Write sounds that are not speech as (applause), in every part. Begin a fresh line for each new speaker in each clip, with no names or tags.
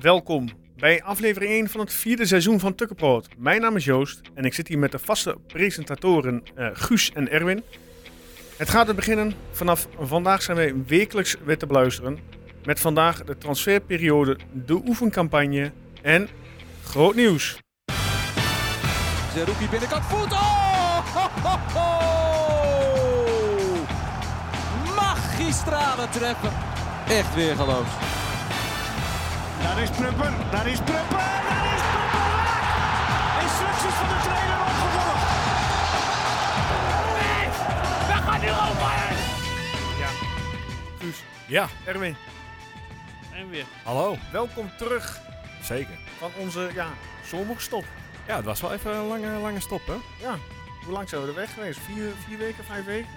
Welkom bij aflevering 1 van het vierde seizoen van Tukkenproot. Mijn naam is Joost en ik zit hier met de vaste presentatoren eh, Guus en Erwin. Het gaat er beginnen. Vanaf vandaag zijn wij wekelijks weer te beluisteren. Met vandaag de transferperiode, de oefencampagne en groot nieuws.
Zerouki binnenkant voet. Oh! Ho, ho, ho! Magistrale treppen. Echt weer geloof.
Daar is Prupper, daar is Prupper, daar is Prupper! Instructies van de trainer opgevolgd. We gaan nu over!
Guus,
Ja,
Erwin,
En weer.
hallo.
welkom terug
Zeker.
van onze ja, zomerstop.
Ja, het was wel even een lange, lange stop, hè?
Ja, hoe lang zijn we er weg geweest? Vier, vier weken, vijf weken?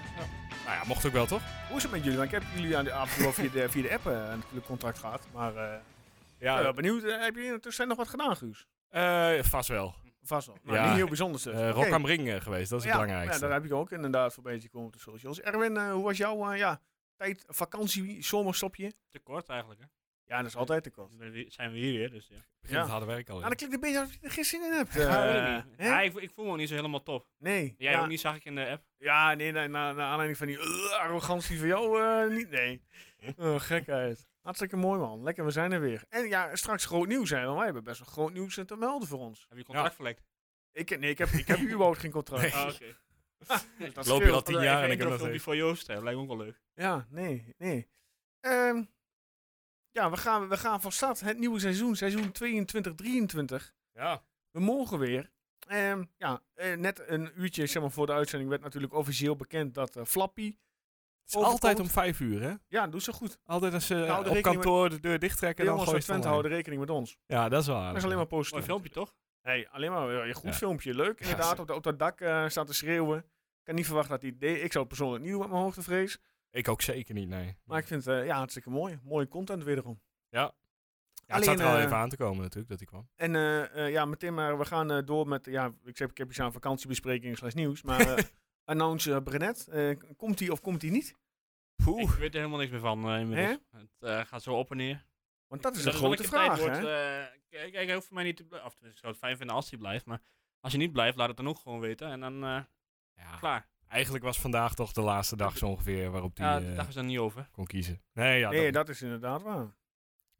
Nou ja, mocht ook wel, toch?
Hoe is het met jullie? Want ik heb jullie aan de afgelopen via de, via de app eh, natuurlijk contact gehad. Maar eh, ik ben wel benieuwd, eh, heb je in de tussentijd nog wat gedaan, Guus?
Eh, vast wel.
Vast wel. Maar
Ja.
niet heel bijzonders. dus.
Eh
Oké.
Rock am Ring eh, geweest, dat is het
ja, ja,
belangrijkste.
daar heb ik ook inderdaad voor bezig gekomen op de socials. Erwin, eh, hoe was jouw eh, ja, tijd, vakantie, zomerstopje?
Te kort eigenlijk, hè?
Ja, dat is altijd te kort.
Dan ben je- Zijn we hier weer, dus ja.
Begin
ja.
het harde werk al.
Ah, dat klinkt een beetje alsof je er geen zin in hebt.
Ja,
eh.
weet ik niet.
hè?
Ja, ik, ik voel me niet zo helemaal top.
nee.
Jij
ja,
ook niet, zag ik in de app.
Ja, nee, nee, na, naar aanleiding van die eh, arrogantie van jou, eh, niet,
(laughs)
nee. Oh, gekheid. Hartstikke mooi, man. Lekker, we zijn er weer. En ja, straks groot nieuws, hè, want wij hebben best wel groot nieuws eh, te melden voor ons.
Heb je contract verlekt?
Ik, nee, ik heb,
(laughs)
ik heb überhaupt geen contract.
Nee.
Ah, oké.
Dus dat
Loop je
scheelt.
al tien jaar en ik heb nog
die
steeds.
voor Joost, hè? Lijkt me ook wel leuk.
Ja, nee, nee. Ehm, ja, we gaan, we gaan van start. Het nieuwe seizoen, seizoen 22-23.
Ja.
We mogen weer. Ehm, ja, eh, net een uurtje zeg maar, voor de uitzending werd natuurlijk officieel bekend dat eh, Flappy...
Het is altijd om vijf uur, hè?
Ja, doet ze goed.
Altijd als ze eh,
Nou, de
op
rekening
kantoor de deur
De
dichttrekken, dan
jongens
gooi
van
je het
Twente
online.
houden rekening met ons.
Ja, dat is waar.
Dat is alleen maar
Mooi
positief.
filmpje, toch?
Hey, alleen maar eh, een goed
Ja.
filmpje. Leuk, inderdaad.
ze-
Op, de, op dat dak eh, staat te schreeuwen. Ik kan niet verwachten dat hij het deed. Ik zou het persoonlijk niet doen met mijn hoogtevrees.
Ik ook zeker niet, nee.
Maar ik vind het eh, ja, hartstikke mooi. Mooie content wederom.
Ja, het zat er
alleen,
al
eh,
even aan te komen natuurlijk, dat ik kwam.
En eh, eh, ja, meteen maar, we gaan eh, door met, ja, ik heb, ik heb iets aan vakantiebespreking slash nieuws. Maar
(laughs)
eh, announce eh, Brenet, eh, komt hij of komt hij niet?
Poeh.
Ik weet er helemaal niks meer van eh, inmiddels. Het eh, gaat zo op en neer.
Want dat is
Dat
een
is
grote
welke tijd
vraag,
wordt,
hè?
eh, Kijk, kijk, hij hoeft voor mij niet te blijven. Of tenminste, ik zou het fijn vinden als hij blijft. Maar als hij niet blijft, laat het dan ook gewoon weten. En dan eh,
Ja.
klaar.
Eigenlijk was vandaag toch de laatste dag zo ongeveer waarop die
Ja, de
eh,
dag is dan niet over.
kon kiezen. Nee, ja,
nee,
dat-
dat is inderdaad waar.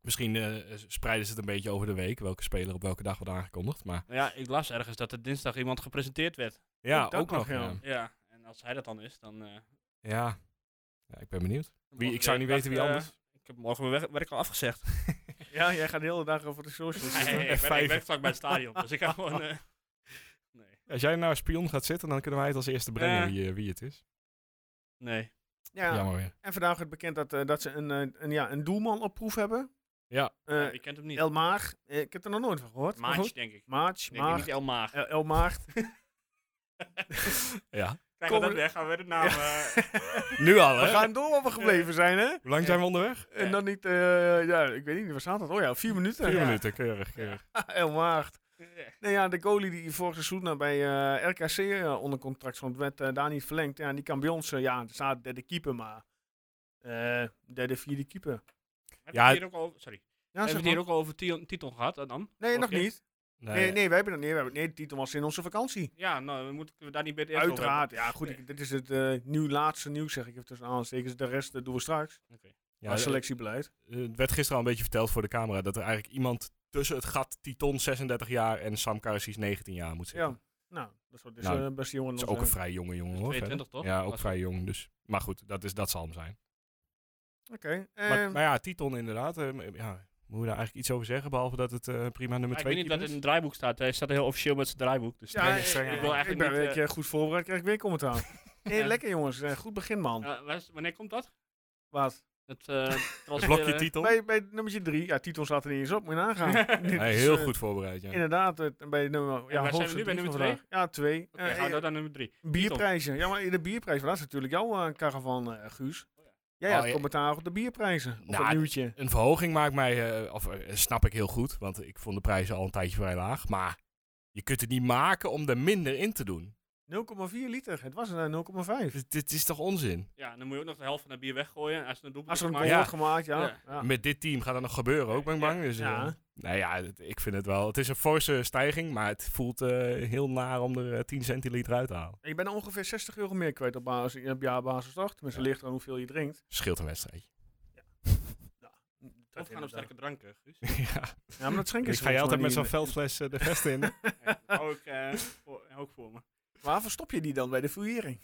misschien eh, spreiden ze het een beetje over de week, welke speler op welke dag wordt aangekondigd. Maar
Ja, ik las ergens dat er dinsdag iemand gepresenteerd werd.
ja,
Ook
ook,
dat nog,
nog.
ja.
ja.
Ja, en als hij dat dan is, dan... eh,
Ja. ja, ik ben benieuwd. Wie,
morgen
ik zou
weer
niet weten
dag,
wie
eh,
anders.
Ik heb morgen mijn werk- werk al afgezegd.
Ja, jij gaat de hele dag over de
(laughs)
socials.
(laughs)
Nee, nee, nee, ik, ben, ik
Vijf.
werk vlak bij het stadion, dus ik ga gewoon... eh, nee.
Als jij nou spion gaat zitten, dan kunnen wij het als eerste brengen
Ja.
wie, eh, wie het is.
nee.
ja,
Jammer weer.
en vandaag werd bekend dat, eh, dat ze een, eh, een, ja, een doelman op proef hebben.
Ja.
Eh,
Ja, ik kent hem niet.
El Maag. Eh, ik heb er nog nooit van gehoord. maar
Maatje,
goed.
denk ik.
Maatj,
Nee, ik denk
Maag,
niet El Maag.
El, El
(laughs)
Maag.
Ja.
Kijk,
Kom-
dat weg, gaan
(laughs)
we de naam... eh,
Nu al,
We
hè?
gaan door waar we gebleven zijn, hè?
Hoe lang zijn we onderweg?
En dan niet, eh, ja, ik weet niet, waar staat dat? Oh ja, vier minuten.
Vier
Ja.
minuten, keurig, keurig.
(laughs) El Maag. Nee, ja, de goalie die vorig seizoen nog bij eh, RKC eh, onder contract stond, werd eh, daar niet verlengd. Ja, die kan bij ons, eh, ja, er staat derde keeper, maar eh, derde, vierde keeper.
Heb
Ja,
je hier ook al over... Sorry.
Ja,
Heb je
zeg
het hier
maar.
ook al over ti- titel gehad, eh, dan?
Nee, nog
Oké.
niet. Nee, nee, wij hebben dat nee, we hebben, nee, de titel was in onze vakantie.
Ja, nou, we moeten we daar niet beter eerst over
Uiteraard. Ja, goed,
Nee.
ik- dit is het eh, nieuw laatste nieuws, zeg ik even tussen aanstekens. De rest eh, doen we straks.
Ja,
Maar
eh,
selectiebeleid.
eh, het werd gisteren al een beetje verteld voor de camera dat er eigenlijk iemand tussen het gat Titon 36 jaar en Sam Karasis 19 jaar moet zitten.
Ja. Nou, dat is wel- dus,
Nou,
eh, best jongen.
Dat is
nog,
ook een
eh,
vrij jonge jongen, hoor.
22
verder.
toch?
Ja, ook
Was
vrij jong, dus. Maar goed, dat, is, dat zal hem zijn.
Oké.
maar,
ehm,
maar ja, Titon inderdaad. eh, m- ja, moeten we daar eigenlijk iets over zeggen, behalve dat het eh, prima nummer
Maar ik
2
weet niet dat het in het draaiboek staat. Hij staat heel officieel met zijn draaiboek. Dus
ja,
streng-
eh,
streng-
eh,
ik
wil
ik
eigenlijk
ben
niet,
een beetje goed voorbereid, krijg ik weer
(laughs)
commentaar. Nee,
Ja.
lekker jongens. eh, goed begin, man.
Eh, waar is- wanneer komt dat?
Wat?
Het eh,
Het
transfer,
blokje
eh,
Titon.
Bij, bij nummertje 3, ja, titel staat er niet eens op, moet je nagaan.
(laughs)
Dit
Hij
is,
heel
eh,
goed voorbereid, ja.
Inderdaad, eh, bij nummer. Ja,
waar zijn we
hoogste
nu? Bij
drie
nummer
van vandaag. Ja, twee.
Oké,
Eh,
gaan we
eh,
door naar nummer drie.
bierprijzen. Ja, maar de bierprijs, want dat is natuurlijk jouw eh, caravan, eh, Guus. Jij
Oh,
had
ja.
commentaar op de bierprijzen. Op
Nou,
het nieuwtje.
Een verhoging maakt mij, eh, of eh, snap ik heel goed, want ik vond de prijzen al een tijdje vrij laag. Maar je kunt het niet maken om er minder in te doen.
0,4 liter. Het was er nou 0,5.
Dit- Dit is toch onzin?
Ja, dan moet je ook nog de helft van dat bier weggooien. Als er een doelpunt
Als er een
wordt
goal wordt
gemaakt.
gemaakt, ja.
Ja.
ja.
Met dit team gaat dat nog gebeuren ook, ben ik bang. Dus, eh,
Ja.
nou ja, het- ik vind het wel. Het is een forse stijging, maar het voelt eh, heel naar om er eh, 10 centiliter uit te halen.
Je bent er ongeveer 60 euro meer kwijt op, basis, op jaarbasis, toch? Tenminste,
Ja.
ligt aan hoeveel je drinkt.
Scheelt een wedstrijdje.
Of gaan op sterke dranken, Guus.
ja.
(laughs) Ja, maar dat
(laughs)
schenken
Dus
ze
ga je
volgens
altijd
mij
met zo'n
niet
veldfles eh, de vest
(laughs)
in.
Ja, hou ik, eh, voor, hou ik voor me.
in. Waar verstop je die dan bij de fouillering?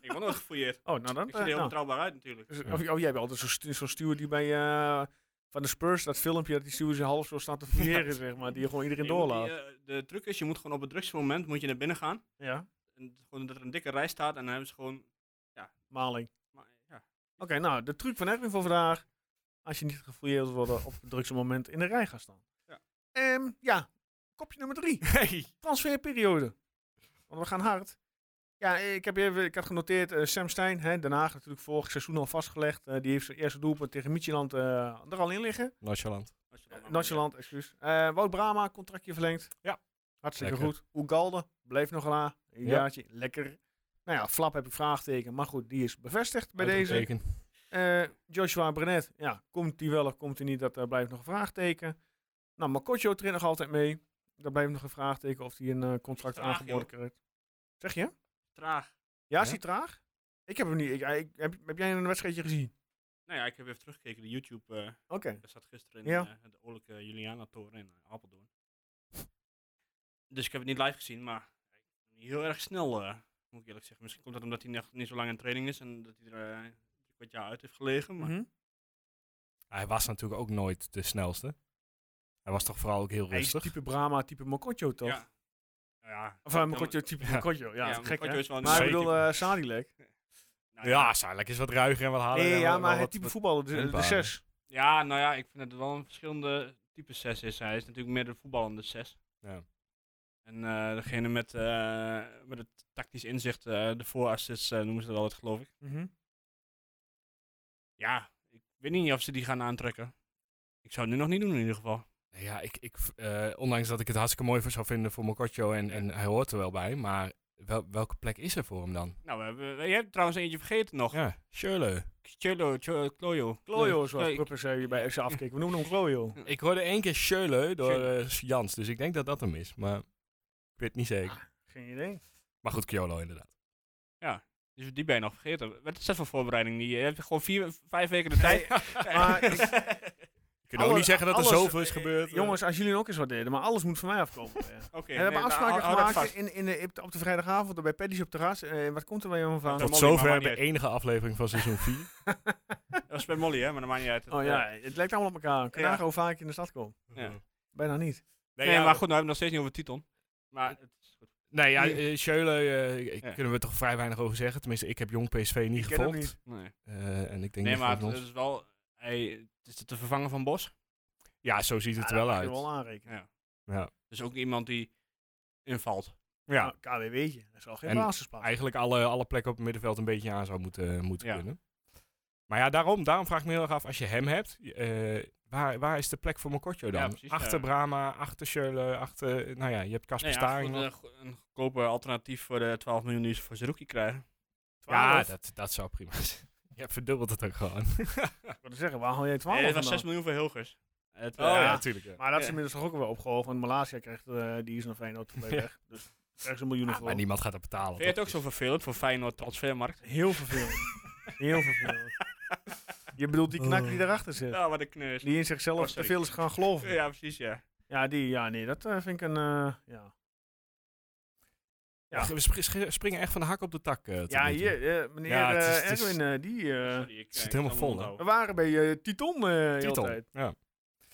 Ik word nooit gefouilleerd.
(laughs) Oh, nou dan.
Ik zie er
eh,
heel
nou.
betrouwbaar uit natuurlijk.
Dus- of- Oh, jij bent altijd zo'n stu- zo'n steward die bij eh, van de Spurs, dat filmpje dat die steward zijn half zo staat te fouilleren, zeg maar. Die je gewoon iedereen
Je moet
doorlaat.
die, eh, de truc is, je moet gewoon op het drukste moment moet je naar binnen gaan.
eh,
Ja,
En gewoon dat er een dikke rij staat en dan hebben ze gewoon...
maling.
Maar, ja.
Oké, nou, de truc van Edwin voor vandaag. Als je niet gefouilleerd wilt worden op het drukste moment in de rij gaan staan.
Ja.
Ehm, ja, kopje nummer drie.
(laughs) Hey.
transferperiode. Want we gaan hard. Ja, ik, heb even, ik had genoteerd eh, Sam Stein, hè, Den Haag natuurlijk vorig seizoen al vastgelegd. Eh, die heeft zijn eerste doelpunt tegen Micheland eh, er al in liggen.
Nonchalant.
Als je
Uh,
dan maar-
excuus. Eh, Wout Brama, contractje verlengd.
Oh, Ja.
Hartstikke
Lekker.
goed. Oegalde, bleef nog na. Een
Ja.
jaartje, lekker. Nou ja, Flap heb ik vraagteken. Maar goed, die is bevestigd bij deze.
Uitroepteken.
Eh, Joshua Brenet, ja, komt hij wel of komt hij niet, dat eh, blijft nog een vraagteken. Nou, Makocho traint nog altijd mee. Daar blijft nog een vraagteken of hij een eh, contract
Is traag,
aangeboden
joh.
krijgt. Zeg je?
Traag.
Ja, is hij traag? Ik heb hem niet. Ik, ik- heb, heb jij een wedstrijdje gezien?
Nou ja, ik heb even teruggekeken. De YouTube, eh
Oké.
daar zat gisteren in
Ja.
eh, de oorlijke Juliana-toren in eh, Apeldoorn. Dus ik heb het niet live gezien, maar niet heel erg snel, eh, moet ik eerlijk zeggen. Misschien komt dat omdat hij nog niet zo lang in training is en dat hij er eh, wat jaar uit heeft gelegen. Maar
Mhm.
Hij was natuurlijk ook nooit de snelste. Hij was toch vooral ook heel
Hij is
rustig.
type Brahma, type Makocho toch?
ja. Nou ja.
Of eh, Makocho, type
Ja.
Makocho. Ja,
Ja,
dat is gek
Makocho
hè?
is wel een
Maar ik
zeker.
bedoel, eh Sadilek.
Nou
Ja, Saarlijk is wat ruiger en wat harder.
Nee,
en
ja, maar
wel- wel
het
wat-
type
wat-
voetballer, de, de
tempo
zes.
Ja, nou ja, ik vind dat het wel een verschillende type 6 is. Hij is natuurlijk meer de voetballende 6.
Ja.
En eh, degene met, eh, met het tactisch inzicht, eh, de voorassists eh, noemen ze dat altijd, geloof ik.
Mhm.
Ja, ik weet niet of ze die gaan aantrekken. Ik zou het nu nog niet doen in ieder geval.
Nee, Ja, ik, ik, eh, ondanks dat ik het hartstikke mooi voor zou vinden voor Mokotjo en, en hij hoort er wel bij, maar wel- welke plek is er voor hem dan?
Nou, we hebben, jij hebt trouwens eentje vergeten nog.
Ja, Schurle.
Cholo, Cholo, Klojo.
Klojo,
Nee,
zoals
nee,
Pupper zei bij (laughs) FC Afkik. We noemen hem Klojo.
Ik hoorde één keer Schurle door
Schöle.
eh, Jans, dus ik denk dat dat hem is, maar ik weet het niet zeker.
Geen idee.
Maar goed, Kyolo inderdaad.
Dus die ben je nog vergeten. Wat is dat voor voorbereiding? Die, eh, je hebt gewoon vier, vijf weken de
(laughs)
tijd.
maar ik-
Je kunt ook
Alle-
niet zeggen dat er
alles-
zoveel is
eh,
gebeurd. eh.
Jongens, als jullie ook eens wat deden, maar alles moet van mij
(laughs)
afkomen. ja. En
Oké,
we hebben
nee, maar
afspraken
hou- hou dat
gemaakt
vast.
in, in de, op de- op de vrijdagavond bij Paddy's op het terras. Eh, wat komt er bij jou van?
Dat-
Tot
Molly, maar
zover
maakt
de
niet uit.
enige aflevering
(laughs)
van seizoen 4.
Dat was bij Molly, hè, maar dat maakt niet uit.
Oh ja, het lijkt allemaal op elkaar. Kun je
Ja.
nagaan hoe vaak ik in de stad kom?
Ja.
Bijna niet.
Nee,
ja,
maar goed, nou hebben we het nog steeds niet over Titon. Maar het is goed.
Nee, ja,
Nee.
eh, Schöle eh,
Ja.
kunnen we toch vrij weinig over zeggen. Tenminste, ik heb jong PSV niet
Ik ken hem
gevolgd.
niet.
Nee,
Eh, en ik denk
nee
niet
maar
dat
het,
van ons-
is wel... Hij, het is te vervangen van Bos.
Ja, zo ziet het
Ja,
er wel
Ah, dat kun je
uit.
wel aanrekenen.
Dus ook iemand die invalt.
Ja.
Nou, KWW'tje. Dat is al geen
En
basisplaats.
eigenlijk alle, alle plekken op het middenveld een beetje aan zou moeten, eh, moeten
Ja.
kunnen. Maar ja, daarom, daarom vraag ik me heel erg af, als je hem hebt, eh, waar, waar is de plek voor Mokotjo dan?
Ja, precies,
achter
ja.
Brama, achter Schöle, achter, nou ja, je hebt Casper
Nee, ja,
Staring
goed,
nog.
eh, go- een goedkope alternatief voor de 12 miljoen die ze voor Zerouki krijgen.
Ja,
12.
dat, dat zou prima zijn. (laughs) Je hebt verdubbeld het ook gewoon.
Ik wilde zeggen, waar haal jij 12
Nee, dat was 6
eh,
vandaan?
miljoen voor Hilgers. Het, eh,
Oh, ja.
natuurlijk.
Maar dat is
Ja.
inmiddels toch ook wel opgehoogd. Want Malaysia krijgt, eh, die is nog Feyenoord twee
Ja.
weg. Dus krijgt ze een miljoen of
Ah, maar
wel.
niemand gaat dat betalen.
Vind je het
toch?
ook zo vervelend voor Feyenoord Transfermarkt?
Heel
(laughs)
vervelend. Heel vervelend. Je bedoelt die knak die daarachter zit.
Ja, wat een kneus.
Die in zichzelf
Oh,
te
sorry.
veel is gaan geloven.
Ja, precies, ja.
Eh,
Ja, die, ja, nee, dat eh, vind ik een, eh, ja. Ja.
We spri- schi- springen echt van de hak op de tak. eh, tot
Ja,
nu toe.
hier, eh, meneer
Ja, het
eh,
is- het is-
Erwin, eh, die, eh,
Sorry, ik, eh,
zit
ik
helemaal
zal
vol,
me
hè?
we
onthouden.
waren bij eh, Titon eh heel de
Titel.
tijd.
Ja.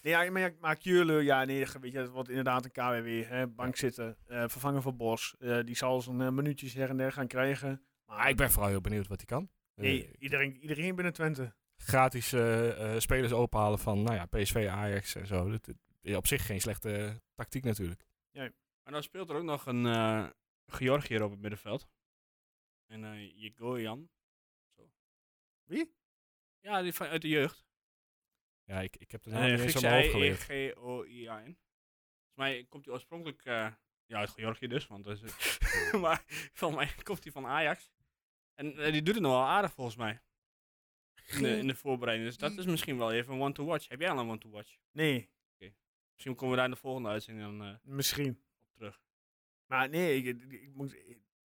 Nee, ja, maar, ja, maar Keulen, ja, nee, ge- weet je, dat wordt inderdaad een KWW, hè, bank zitten, eh, vervangen van Bos. Eh, die zal zijn een minuutjes her en der gaan krijgen.
Maar Ah, ik ben vooral heel benieuwd wat hij kan.
Nee,
Eh,
iedereen, iedereen binnen Twente.
gratis eh, eh, spelers ophalen van nou ja, PSV, Ajax en zo. Dat, dat- ja, op zich geen slechte tactiek natuurlijk.
Maar dan speelt er ook nog een eh Georgiër op het middenveld. En eh Yegoyan. Zo.
Wie?
Ja, die van, uit de jeugd.
Ja, ik, ik heb de naam
Eh
niet eens
Griekse
aan mijn hoofd geleerd.
I-E-G-O-I-A-N. Volgens mij komt hij oorspronkelijk eh, Ja, uit Georgië dus. Want dat is,
(laughs)
(laughs) maar van mij komt hij van Ajax. En eh, die doet het nog wel aardig volgens mij. In de, in de voorbereiding. Dus dat is misschien wel even een one to watch. Heb jij al een one to watch?
Nee,
Misschien komen we daar in de volgende uitzending dan eh,
misschien.
op terug.
Maar nee, ik, ik- ik moet,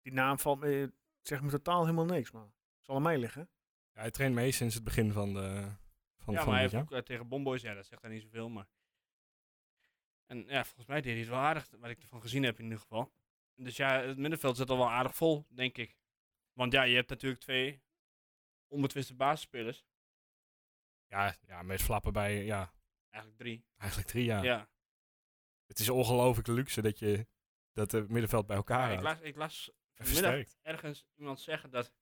die naam valt me, zegt me totaal helemaal niks, maar het zal aan mij liggen.
Ja, hij traint mee sinds het begin van, de, van, van
ja, maar hij
dit
heeft
jaar.
ook eh, tegen Bomboys, ja, dat zegt hij niet zoveel, maar... En ja, volgens mij deed hij het wel aardig, wat ik ervan gezien heb in ieder geval. Dus ja, het middenveld zit al wel aardig vol, denk ik. Want ja, je hebt natuurlijk twee onbetwiste basisspelers.
Ja, ja, met flappen bij, ja,
Eigenlijk drie.
eigenlijk drie jaar.
Ja,
Het is ongelooflijk luxe dat je dat het middenveld bij elkaar
ik,
houdt.
las, ik las
En
vanmiddag
versterkt.
ergens iemand zeggen dat,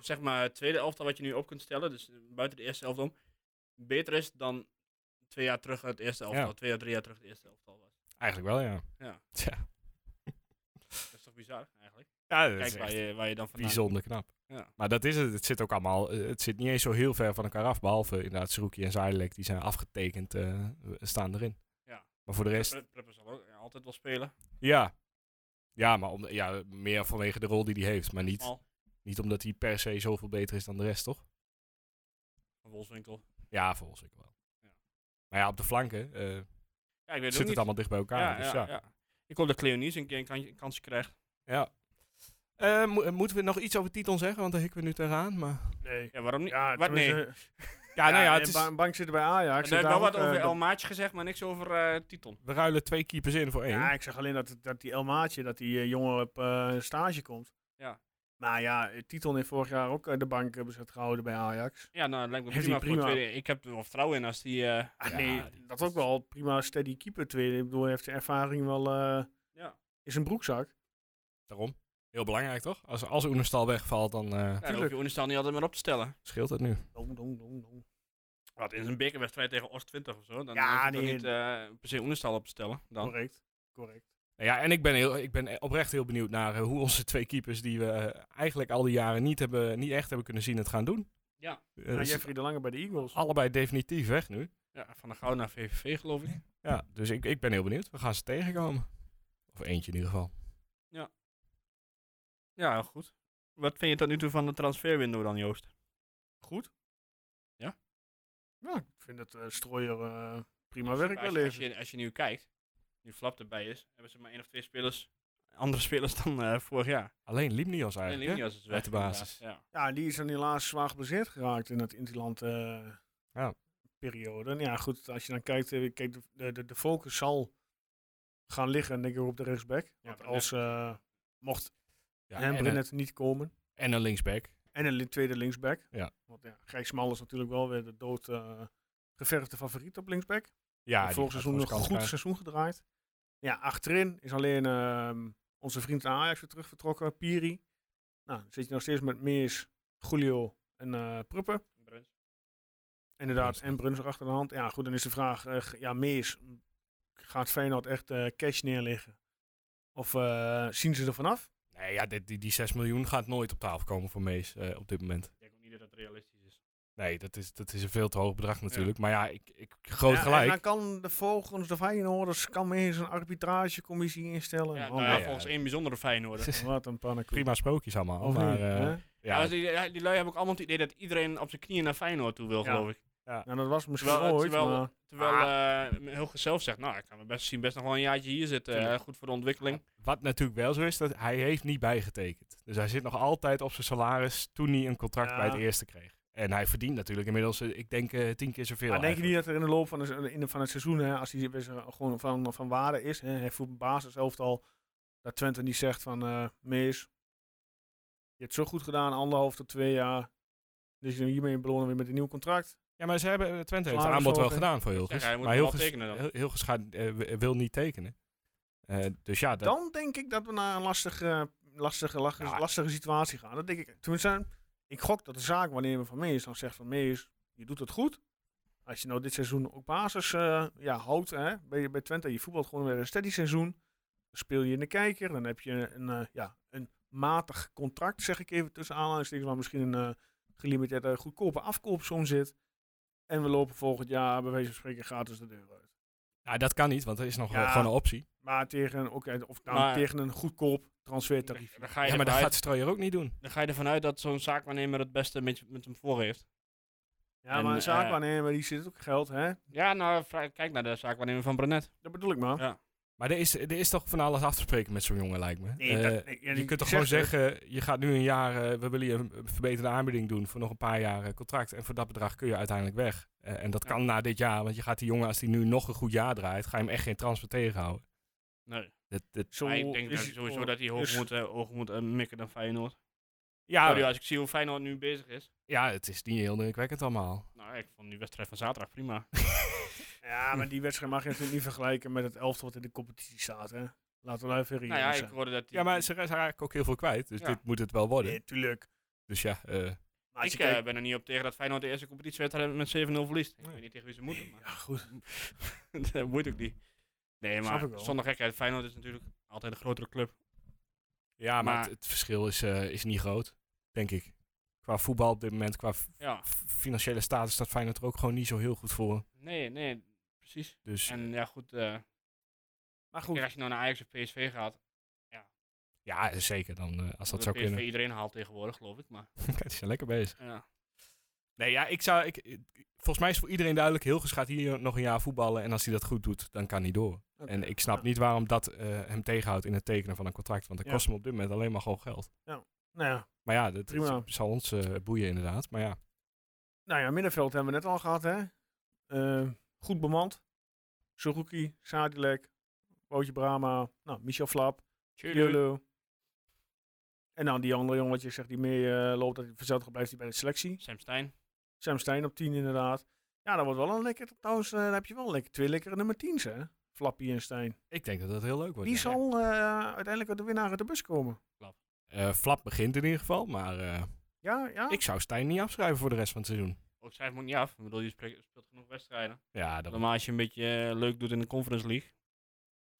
zeg maar, het tweede elftal wat je nu op kunt stellen, dus eh, buiten de eerste elftal om, beter is dan twee jaar terug het eerste elftal,
Ja.
twee jaar, drie jaar terug het eerste elftal was.
Eigenlijk wel, ja.
Ja.
Tja.
Dat is toch bizar, eigenlijk?
Ja, dat
Kijk
is
waar
echt
je, waar je dan vandaan
bijzonder knap.
Ja.
Maar dat is het. Het zit ook allemaal, eh, het zit niet eens zo heel ver van elkaar af. Behalve inderdaad Zerouki en Zailek, die zijn afgetekend, eh, staan erin.
Ja.
Maar voor de rest,
Pre- Prepper zal ook ja, altijd wel spelen.
ja. Ja, maar om, ja, meer vanwege de rol die hij heeft. Maar niet,
Al.
niet omdat hij per se zoveel beter is dan de rest, toch?
Van Wolfswinkel.
Ja, volgens ik wel.
Ja.
Maar ja, op de flanken eh
Ja, ik
zit
weet het
het
ook niet.
allemaal dicht bij elkaar.
Ja,
dus
ja,
ja.
ja. Ik hoop dat Cleonice een keer een kan- kans krijgt.
Ja. Eh, mo- eh, moeten we nog iets over Titon zeggen? Want daar hikken we nu tegenaan. Maar...
Nee.
Ja, waarom niet?
Ja,
wat, nee.
tenminste,
Ja, nou ja,
en
het is,
ba- bank zitten bij Ajax.
Daar heb
en
wel
daar ook,
wat
eh,
over
dat-
El Maatje gezegd, maar niks over eh, Titon.
we ruilen twee keepers in voor één.
Ja, ik zeg alleen dat, dat die El Maatje, dat die eh, jongen op eh, stage komt.
Ja.
Maar ja, eh, Titon heeft vorig jaar ook eh, de bank eh, bezet gehouden bij Ajax.
Ja, nou, dat lijkt me
Heeft
prima,
hij
voor
prima.
tweede. Ik heb er wel vertrouwen in als die... eh,
Ah,
Ja,
nee,
die-
dat ook wel. Prima steady keeper tweede. Ik bedoel, hij heeft de ervaring wel eh
ja.
in zijn broekzak.
Daarom. Heel belangrijk toch? Als, als Oenerstal wegvalt, dan eh,
ja, dan hoef je Oenestal niet altijd meer op te stellen.
scheelt het nu.
Dong, dong, dong, dong.
Wat, in een bekerwedstrijd tegen Oost 20 of zo, dan
Ja,
hoef je toch
nee. Oh.
niet eh, per se Oenestal op te stellen. Dan.
Correct. Correct.
Nou Ja, en ik ben, heel, ik ben oprecht heel benieuwd naar eh, hoe onze twee keepers, die we eh, eigenlijk al die jaren niet, hebben, niet echt hebben kunnen zien, het gaan doen.
Ja.
Eh,
Ja,
ze-
Jeffrey de Lange bij de Eagles.
allebei definitief weg nu.
Ja, van de Gouden naar VVV, geloof ik.
Ja, dus ik, ik ben heel benieuwd. We gaan ze tegenkomen. Of eentje in ieder geval.
Ja, heel goed. Wat vind je tot nu toe van de transferwindow dan, Joost?
Goed.
Ja?
Ja, ik vind dat eh strooier eh, prima werk
Maar als,
wel
je, als,
even.
je, als je nu kijkt, nu Flap erbij is, hebben ze maar één of twee spelers, andere spelers dan eh, vorig jaar.
Alleen Limnios
En
eigenlijk. hè?
Linias is dus weg.
Uit de
inderdaad,
basis.
Ja.
Ja, die is dan helaas zwaar geblesseerd geraakt in dat Interland eh,
Ja.
periode. En ja, goed, als je dan kijkt, eh, kijk, de- de, de, de focus zal gaan liggen, denk ik, op de rechtsback. Want
maar
als, eh, mocht
Ja,
hem
en, een,
Brennet niet komen.
en een linksback.
En een li- tweede linksback.
Ja.
Want ja, Gijs Mal is natuurlijk wel weer de dood eh, geverfde favoriet op linksback.
Ja, die
vorig seizoen
gaat gewoon
een
zijn kans
goed
krijgen.
seizoen gedraaid. Ja, achterin is alleen ehm, onze vriend aan Ajax weer terug vertrokken, Piri. Nou, dan zit je nog steeds met Meers, Julio en eh Pruppen.
Bruns.
Inderdaad,
Bruns.
en Bruns er achter de hand. Ja, goed, dan is de vraag, eh, g- ja, Meers, m, gaat Feyenoord echt eh, cash neerleggen? Of eh, zien ze er vanaf?
Nee, ja, dit- die, die 6 miljoen gaat nooit op tafel komen voor Mees eh, op dit moment.
Ik denk ook niet dat dat realistisch is.
Nee, dat is, dat is een veel te hoog bedrag natuurlijk. Maar ja, ik, ik groot
Ja, En
gelijk.
dan kan de volgens de Feyenoorders, kan Meers een arbitragecommissie instellen.
Ja,
Oh,
nou ja,
ja.
volgens één bijzondere Feyenoorder.
Wat een pannenkoek.
Prima sprookjes allemaal.
Of
maar
niet,
eh,
hè?
Ja,
ja,
maar die, die- die lui hebben ook allemaal het idee dat iedereen op zijn knieën naar Feyenoord toe wil,
Ja.
geloof ik.
Nou, dat was misschien
Terwijl-
ooit,
terwijl-
maar...
Terwijl eh, Hilge zelf zegt, nou, ik kan me best zien best nog wel een jaartje hier zitten. eh, goed voor de ontwikkeling.
wat natuurlijk wel zo is, dat hij heeft niet bijgetekend. Dus hij zit nog altijd op zijn salaris toen hij een contract
Ja.
bij het eerste kreeg. En hij verdient natuurlijk inmiddels, eh, ik denk, eh, tien keer zoveel.
Maar denk je
eigenlijk.
niet dat er in de loop van, de, se- in de- van het seizoen, hè, als hij weer zo- gewoon van, van waarde is, hè, hij voelt een basiselftal, dat Twente niet zegt van, eh Mees, je hebt zo goed gedaan, anderhalf tot twee jaar, dus hiermee belonen we weer met een nieuw contract.
Ja, maar ze hebben, eh, Twente heeft het
Salaris
aanbod wel
hoger.
gedaan voor
zeg,
Hilgers.
hij moet
maar
wel
Hilgers,
tekenen dan.
Hil- Hilgers gaat, eh, w- wil niet tekenen. Eh, dus ja, dat,
Dan denk ik dat we naar een lastige, lastige, lastige,
Ja.
lastige situatie gaan. Dat denk ik. Tenminste, ik gok dat de zaak, wanneer we van Mees dan zegt van Mees, je doet het goed. Als je nou dit seizoen ook basis eh, ja, houdt, hè, bij, bij Twente, je voetbalt gewoon weer een steady seizoen. Dan speel je in de kijker, dan heb je een, eh, ja, een matig contract, zeg ik even tussen aanhalingstekens, waar misschien een eh, gelimiteerde goedkope afkoopsom zit. En we lopen volgend jaar bij wijze van spreken gratis de deur uit.
nou, dat kan niet, want er is nog wel
Ja.
gewoon een optie.
Maar tegen, ook, eh, of nou,
Maar-
tegen een goedkoop transfertarief.
Dan ga je,
Ja, maar dat gaat
ervan, uit,
Strooier ook niet doen.
dan ga je ervan uit dat zo'n zaakwaarnemer het beste met, met hem voor heeft.
Ja,
En,
maar een
eh,
zaakwaarnemer, die zit ook geld, hè?
Ja, nou, vrij- kijk naar de zaakwaarnemer van Brunet.
Dat bedoel ik maar.
Ja.
Maar er is, er is toch van alles af te spreken met zo'n jongen, lijkt me.
Nee,
Eh,
dat- nee, ja,
je
die-
kunt toch
die
gewoon
zegt het.
zeggen, je gaat nu een jaar, eh, we willen je een een verbeterde aanbieding doen voor nog een paar jaar eh, contract. En voor dat bedrag kun je uiteindelijk weg. Eh, en dat
Ja.
kan na dit jaar, want je gaat die jongen, als die nu nog een goed jaar draait, ga je hem echt geen transfer tegenhouden.
Nee.
Dat, dat,
Zo
Maar ik denk
is
dat
het
sowieso
voor-
dat hij
is-
hoog moet, eh, hoog moet eh, mikken dan Feyenoord.
ja,
Nou,
ja,
als ik zie hoe Feyenoord nu bezig is.
het is niet heel indrukwekkend allemaal.
Nou, ik vond die wedstrijd van zaterdag (laughs) prima.
Ja, maar die wedstrijd mag je natuurlijk niet vergelijken met het elftal wat in de competitie staat, hè? Laten we daar even
nou ja,
reëel
ik
zijn.
hoorde dat die,
Ja, maar ze zijn eigenlijk ook heel veel kwijt, dus
Ja.
dit moet het wel worden.
Nee, tuurlijk.
Dus ja, eh,
Maar als
ik
je
eh,
kijkt-
ben er niet op tegen dat Feyenoord de eerste competitiewedstrijd met 7-0 verliest. Ik
Nee.
weet niet tegen wie ze moeten, maar
Ja, goed.
(laughs) dat moet ook niet. Nee,
Snap ik
maar
wel.
zonder gekheid, Feyenoord is natuurlijk altijd een grotere club.
ja maar,
Maar-
het, het verschil is, eh, is niet groot, denk ik. Qua voetbal op dit moment, qua f-
Ja,
f- financiële status, staat Feyenoord er ook gewoon niet zo heel goed voor.
nee, nee, precies.
Dus
En ja, goed, eh,
Maar goed,
kijk, als je nou naar Ajax of PSV gaat,
ja, zeker, dan, eh, als dat
dat
zou
PSV
kunnen. (laughs)
iedereen haalt tegenwoordig, geloof ik. Maar
Kijk, die zijn lekker bezig.
ja,
Nee, ja, ik zou. Ik, ik- volgens mij is voor iedereen duidelijk: Hilgers gaat hier nog een jaar voetballen. En als hij dat goed doet, dan kan hij door.
Oké.
En ik snap niet waarom dat eh, hem tegenhoudt in het tekenen van een contract. Want dat
Ja.
kost hem op dit moment alleen maar gewoon geld.
nou ja,
Maar ja, dat
Prima.
dat zal ons eh, boeien inderdaad. Maar ja,
nou ja, middenveld hebben we net al gehad, hè? Eh, goed bemand. Suzuki, Sadilek, Bootje Brama, nou, Michel Flap, Jolo. En dan die andere jongen wat je zegt die mee eh, loopt, dat verzeld blijft hij bij de selectie.
Sam Stein.
Sam Stein op 10 inderdaad. Ja, dat wordt wel een lekker. Trouwens, eh, dan heb je wel lekker, twee lekkere nummer 10's, hè? Flappy en Stein.
ik denk dat dat heel leuk wordt.
Wie
ja.
zal eh, uiteindelijk uit de winnaar uit de bus komen?
Eh, Flap begint in ieder geval. Maar eh,
Ja, ja.
ik zou Stijn niet afschrijven voor de rest van het seizoen.
Ook schrijf hem ook niet af. Ik bedoel, je spreekt- speelt genoeg wedstrijden.
Ja, dat,
Normaal als je een beetje eh, leuk doet in de Conference League.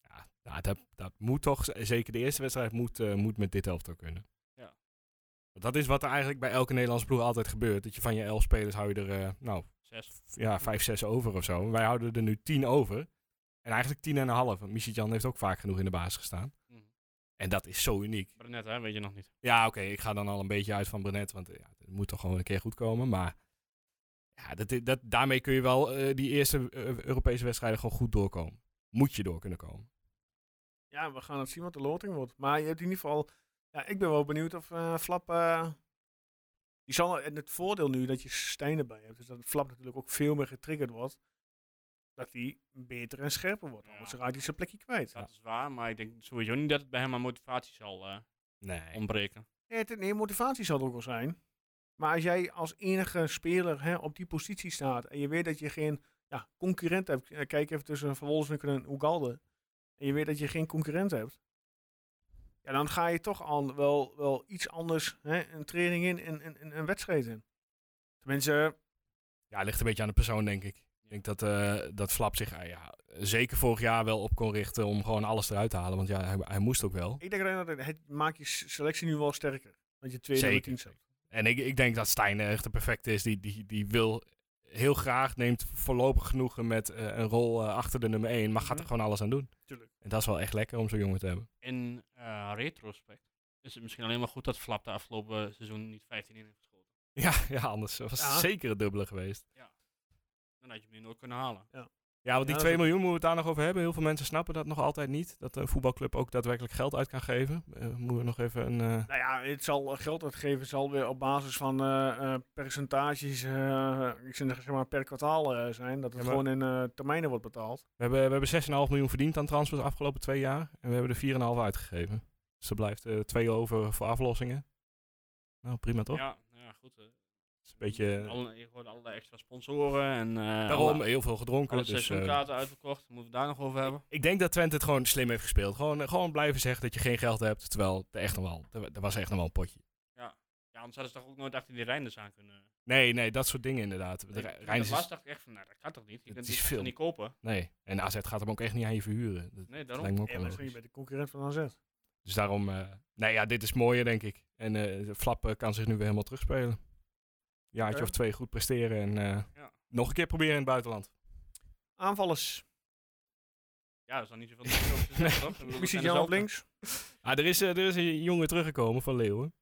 ja, nou, dat, dat moet toch. z- Zeker de eerste wedstrijd moet, eh, moet met dit elftal kunnen.
Ja.
Want Dat is wat er eigenlijk bij elke Nederlandse ploeg altijd gebeurt. Dat je van je elf spelers hou je er eh, nou,
Zes.
ja, vijf, zes over of zo. En wij houden er nu tien over. En eigenlijk tien en een half. Want Michel Jan heeft ook vaak genoeg in de basis gestaan.
Mhm.
En dat is zo uniek.
Maar net, hè, weet je nog niet.
Ja, oké, ik ga dan al een beetje uit van Brenet. Want eh, ja, het moet toch gewoon een keer goed komen. Maar ja, dat, dat, daarmee kun je wel eh, die eerste eh, Europese wedstrijden gewoon goed doorkomen. Moet je door kunnen komen.
Ja, we gaan het zien wat de loting wordt. Maar je hebt in ieder geval. Ja, ik ben wel benieuwd of eh, Flap. eh, die zal, en het voordeel nu dat je Stijn erbij hebt, is dat Flap natuurlijk ook veel meer getriggerd wordt. Dat hij beter en scherper wordt.
Ja.
Anders raakt hij zijn plekje kwijt.
Dat is waar, maar ik denk sowieso niet dat het bij hem aan motivatie zal eh,
Nee.
ontbreken.
Nee, het- nee, motivatie zal er ook wel zijn. Maar als jij als enige speler hè, op die positie staat en je weet dat je geen ja, concurrent hebt. eh, Kijk even tussen Van Wolfswinkel en Ugalde. En je weet dat je geen concurrent hebt. Ja, dan ga je toch al wel, wel iets anders hè, een training in en, en, en een wedstrijd in. Tenminste,
Ja, ligt een beetje aan de persoon, denk ik. Ik denk dat, eh, dat Flap zich eh, ja, zeker vorig jaar wel op kon richten om gewoon alles eruit te halen. Want ja, hij, hij moest ook wel.
ik denk alleen dat het, het maakt je s- selectie nu wel sterker. Dat je twee nummer
Zeker,
tiens hebt.
En ik, ik denk dat Stijn echt de perfecte is. Die, die, die wil heel graag, neemt voorlopig genoegen met eh, een rol eh, achter de nummer 1, maar gaat er
Mhm.
gewoon alles aan doen.
Tuurlijk.
En dat is wel echt lekker om zo'n jongen te hebben.
In eh, retrospect is het misschien alleen maar goed dat Flap de afgelopen seizoen niet 15 in heeft geschoten.
Ja, (laughs) ja anders was
Ja.
het zeker een dubbele geweest.
Dan had je hem nu nooit kunnen halen.
Ja, want
Ja,
die
dat
2
is-
miljoen moeten we het daar nog over hebben. Heel veel mensen snappen dat nog altijd niet. Dat een voetbalclub ook daadwerkelijk geld uit kan geven. Eh, moeten we nog even een... eh,
Nou ja, het zal geld uitgeven zal weer op basis van eh, eh, percentages, eh, ik zeg zeg maar per kwartaal eh, zijn, dat het
Ja, maar-
gewoon in eh, termijnen wordt betaald.
We hebben, we hebben 6,5 miljoen verdiend aan transfers de afgelopen twee jaar. En we hebben er 4,5 uitgegeven. Dus er blijft eh 2 over voor aflossingen. Nou, prima toch?
Ja, nou ja, goed. eh,
is een beetje- eh,
alle, je hoort allerlei extra sponsoren en eh
Daarom
alle,
heel veel gedronken.
alle
dus, eh,
seizoenkaarten uitverkocht. Moeten we daar nog over hebben?
ik denk dat Twente het gewoon slim heeft gespeeld. Gewoon, eh, gewoon blijven zeggen dat je geen geld hebt. Terwijl er echt nog wel, er, er was echt nog wel een potje.
Ja, anders hadden ze toch ook nooit achter die Reinders aan kunnen.
Nee, nee, dat soort dingen inderdaad. De
Ik-
Re-
ik-
Rijn
dat was
is,
dacht ik echt van, nou dat kan toch niet? Ik
Het
denk,
is
die gaan
veel.
ze niet kopen.
nee, en AZ gaat hem ook echt niet aan je verhuren. Dat
Nee, daarom.
lijkt me ook
En
wel
misschien
logisch.
bij de concurrent van AZ.
Dus daarom, eh nou ja, dit is mooier denk ik. En eh, de Flap eh, kan zich nu weer helemaal terugspelen. Jaartje
Oké.
of twee goed presteren en eh,
Ja.
nog een keer proberen in het buitenland.
Aanvallers.
Ja, er is dan niet zoveel te zeggen, toch? Ik
(laughs)
bedoel, we
Wie zit
zijn
jou op
dezelfde.
links?
Ah, er, is, eh, er is een jongen teruggekomen van Leeuwen.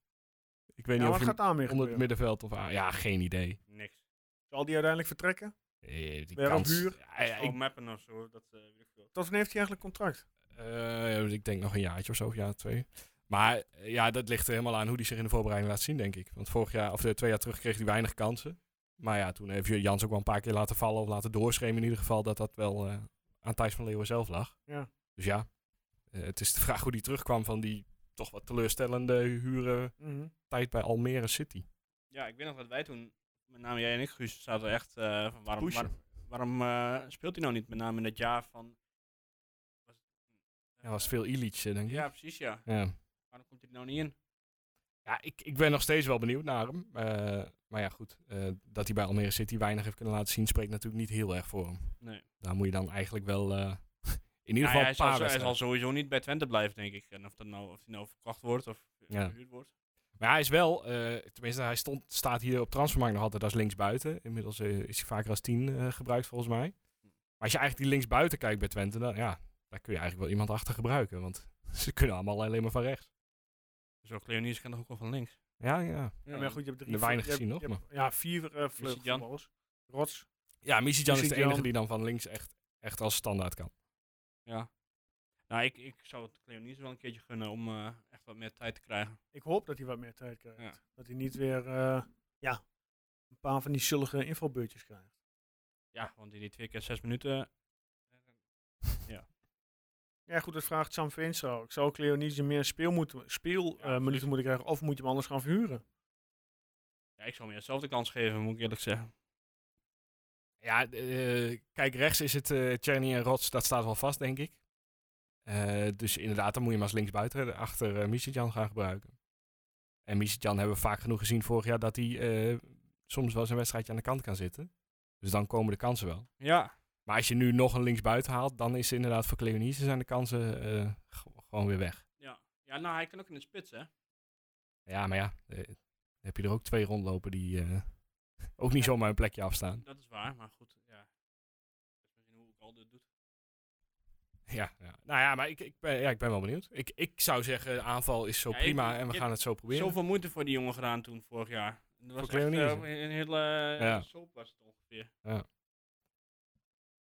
Ik weet
Ja,
niet
wat
of hij
gaat daarmee
onder het
gebeuren?
middenveld of... aan- ja, geen idee.
Niks.
Zal die uiteindelijk vertrekken?
Eh, die
Weer op
kans-
huur?
Ja, ja, ik,
Gewoon mappen of zo. Dat, eh, weet ik veel.
Tot wanneer heeft hij eigenlijk contract?
eh, ik denk nog een jaartje of zo, ja, twee. Maar eh, ja, dat ligt er helemaal aan hoe hij zich in de voorbereiding laat zien, denk ik. Want vorig jaar, of eh, twee jaar terug, kreeg hij weinig kansen. Maar ja, toen heeft Jans ook wel een paar keer laten vallen of laten doorschremen in ieder geval dat dat wel eh, aan Thijs van Leeuwen zelf lag.
Ja.
Dus ja, eh, het is de vraag hoe hij terugkwam van die toch wat teleurstellende huren tijd bij Almere City.
Ja, ik weet nog dat wij toen, met name jij en ik, Guus, zaten echt eh, van waarom,
Pushen.
waar- waarom eh, speelt hij nou niet? Met name in het jaar van... Was,
Ja, was veel Illich, eh, denk ik.
Ja, precies ja.
ja.
Waarom komt hij er nou niet in?
Ja, ik, ik ben nog steeds wel benieuwd naar hem. Eh, maar ja, goed. eh, dat hij bij Almere City weinig heeft kunnen laten zien, spreekt natuurlijk niet heel erg voor hem.
Nee.
Daar moet je dan eigenlijk wel eh, (laughs) in ieder
Nou Ja,
geval
hij,
een
zal,
paar
zo- hij zal
wedstrijden.
sowieso niet bij Twente blijven, denk ik. En of, dat nou, of hij nou verkocht wordt of
Ja.
verhuurd wordt.
Maar hij is wel, eh, tenminste, hij stond, staat hier op transfermarkt nog altijd als linksbuiten. Inmiddels eh, is hij vaker als tien eh, gebruikt, volgens mij. Maar als je eigenlijk die linksbuiten kijkt bij Twente, dan ja, daar kun je eigenlijk wel iemand achter gebruiken. Want (laughs) ze kunnen allemaal alleen maar van rechts.
Zo, Cleonides kan toch ook wel van links?
Ja, ja.
Ja,
Ja, maar goed, je hebt drie...
er weinig
je hebt-
gezien,
je
nog,
hebt- Ja, vier eh vleugelvoetballers. Rots.
Ja, Misicjan is de
Misicjan.
enige die dan van links echt, echt als standaard kan.
Ja. Nou, ik, ik zou het Cleonides wel een keertje gunnen om eh, echt wat meer tijd te krijgen.
Ik hoop dat hij wat meer tijd krijgt.
Ja.
Dat hij niet weer eh, ja, een paar van die zullige invalbeurtjes krijgt.
Ja, want in die twee keer zes minuten...
Ja, goed, dat vraagt Sam Veenstra ook. Zou Cleonice meer speelminuten speel, eh, minuten moeten krijgen of moet je hem anders gaan verhuren?
Ja, ik zou hem eerst zelf de kans geven, moet ik eerlijk zeggen.
Ja, eh, kijk, rechts is het eh Czerny en Rots, dat staat wel vast, denk ik. Eh, dus inderdaad, dan moet je hem als linksbuiten achter eh Misitjan gaan gebruiken. En Misitjan hebben we vaak genoeg gezien vorig jaar dat hij eh, soms wel eens een wedstrijdje aan de kant kan zitten. Dus dan komen de kansen wel.
Ja.
Maar als je nu nog een linksbuiten haalt, dan is inderdaad voor Cleonice zijn de kansen eh, g- gewoon weer weg.
Ja. ja, nou, hij kan ook in de spits, hè?
Ja, maar ja, eh, dan heb je er ook twee rondlopen die eh, (laughs) ook niet zomaar een plekje afstaan.
Dat is waar, maar goed, ja. Dat is misschien hoe ik al dit doet.
Ja, ja. nou ja, maar ik, ik, ben, ja, ik ben wel benieuwd. Ik, ik zou zeggen, aanval is zo
Ja, ik-
prima en we
ik-
gaan het zo proberen.
Zoveel moeite voor die jongen gedaan toen, vorig jaar. Dat was echt
Cleonides.
eh, een hele
Ja.
ja. eh, was het ongeveer.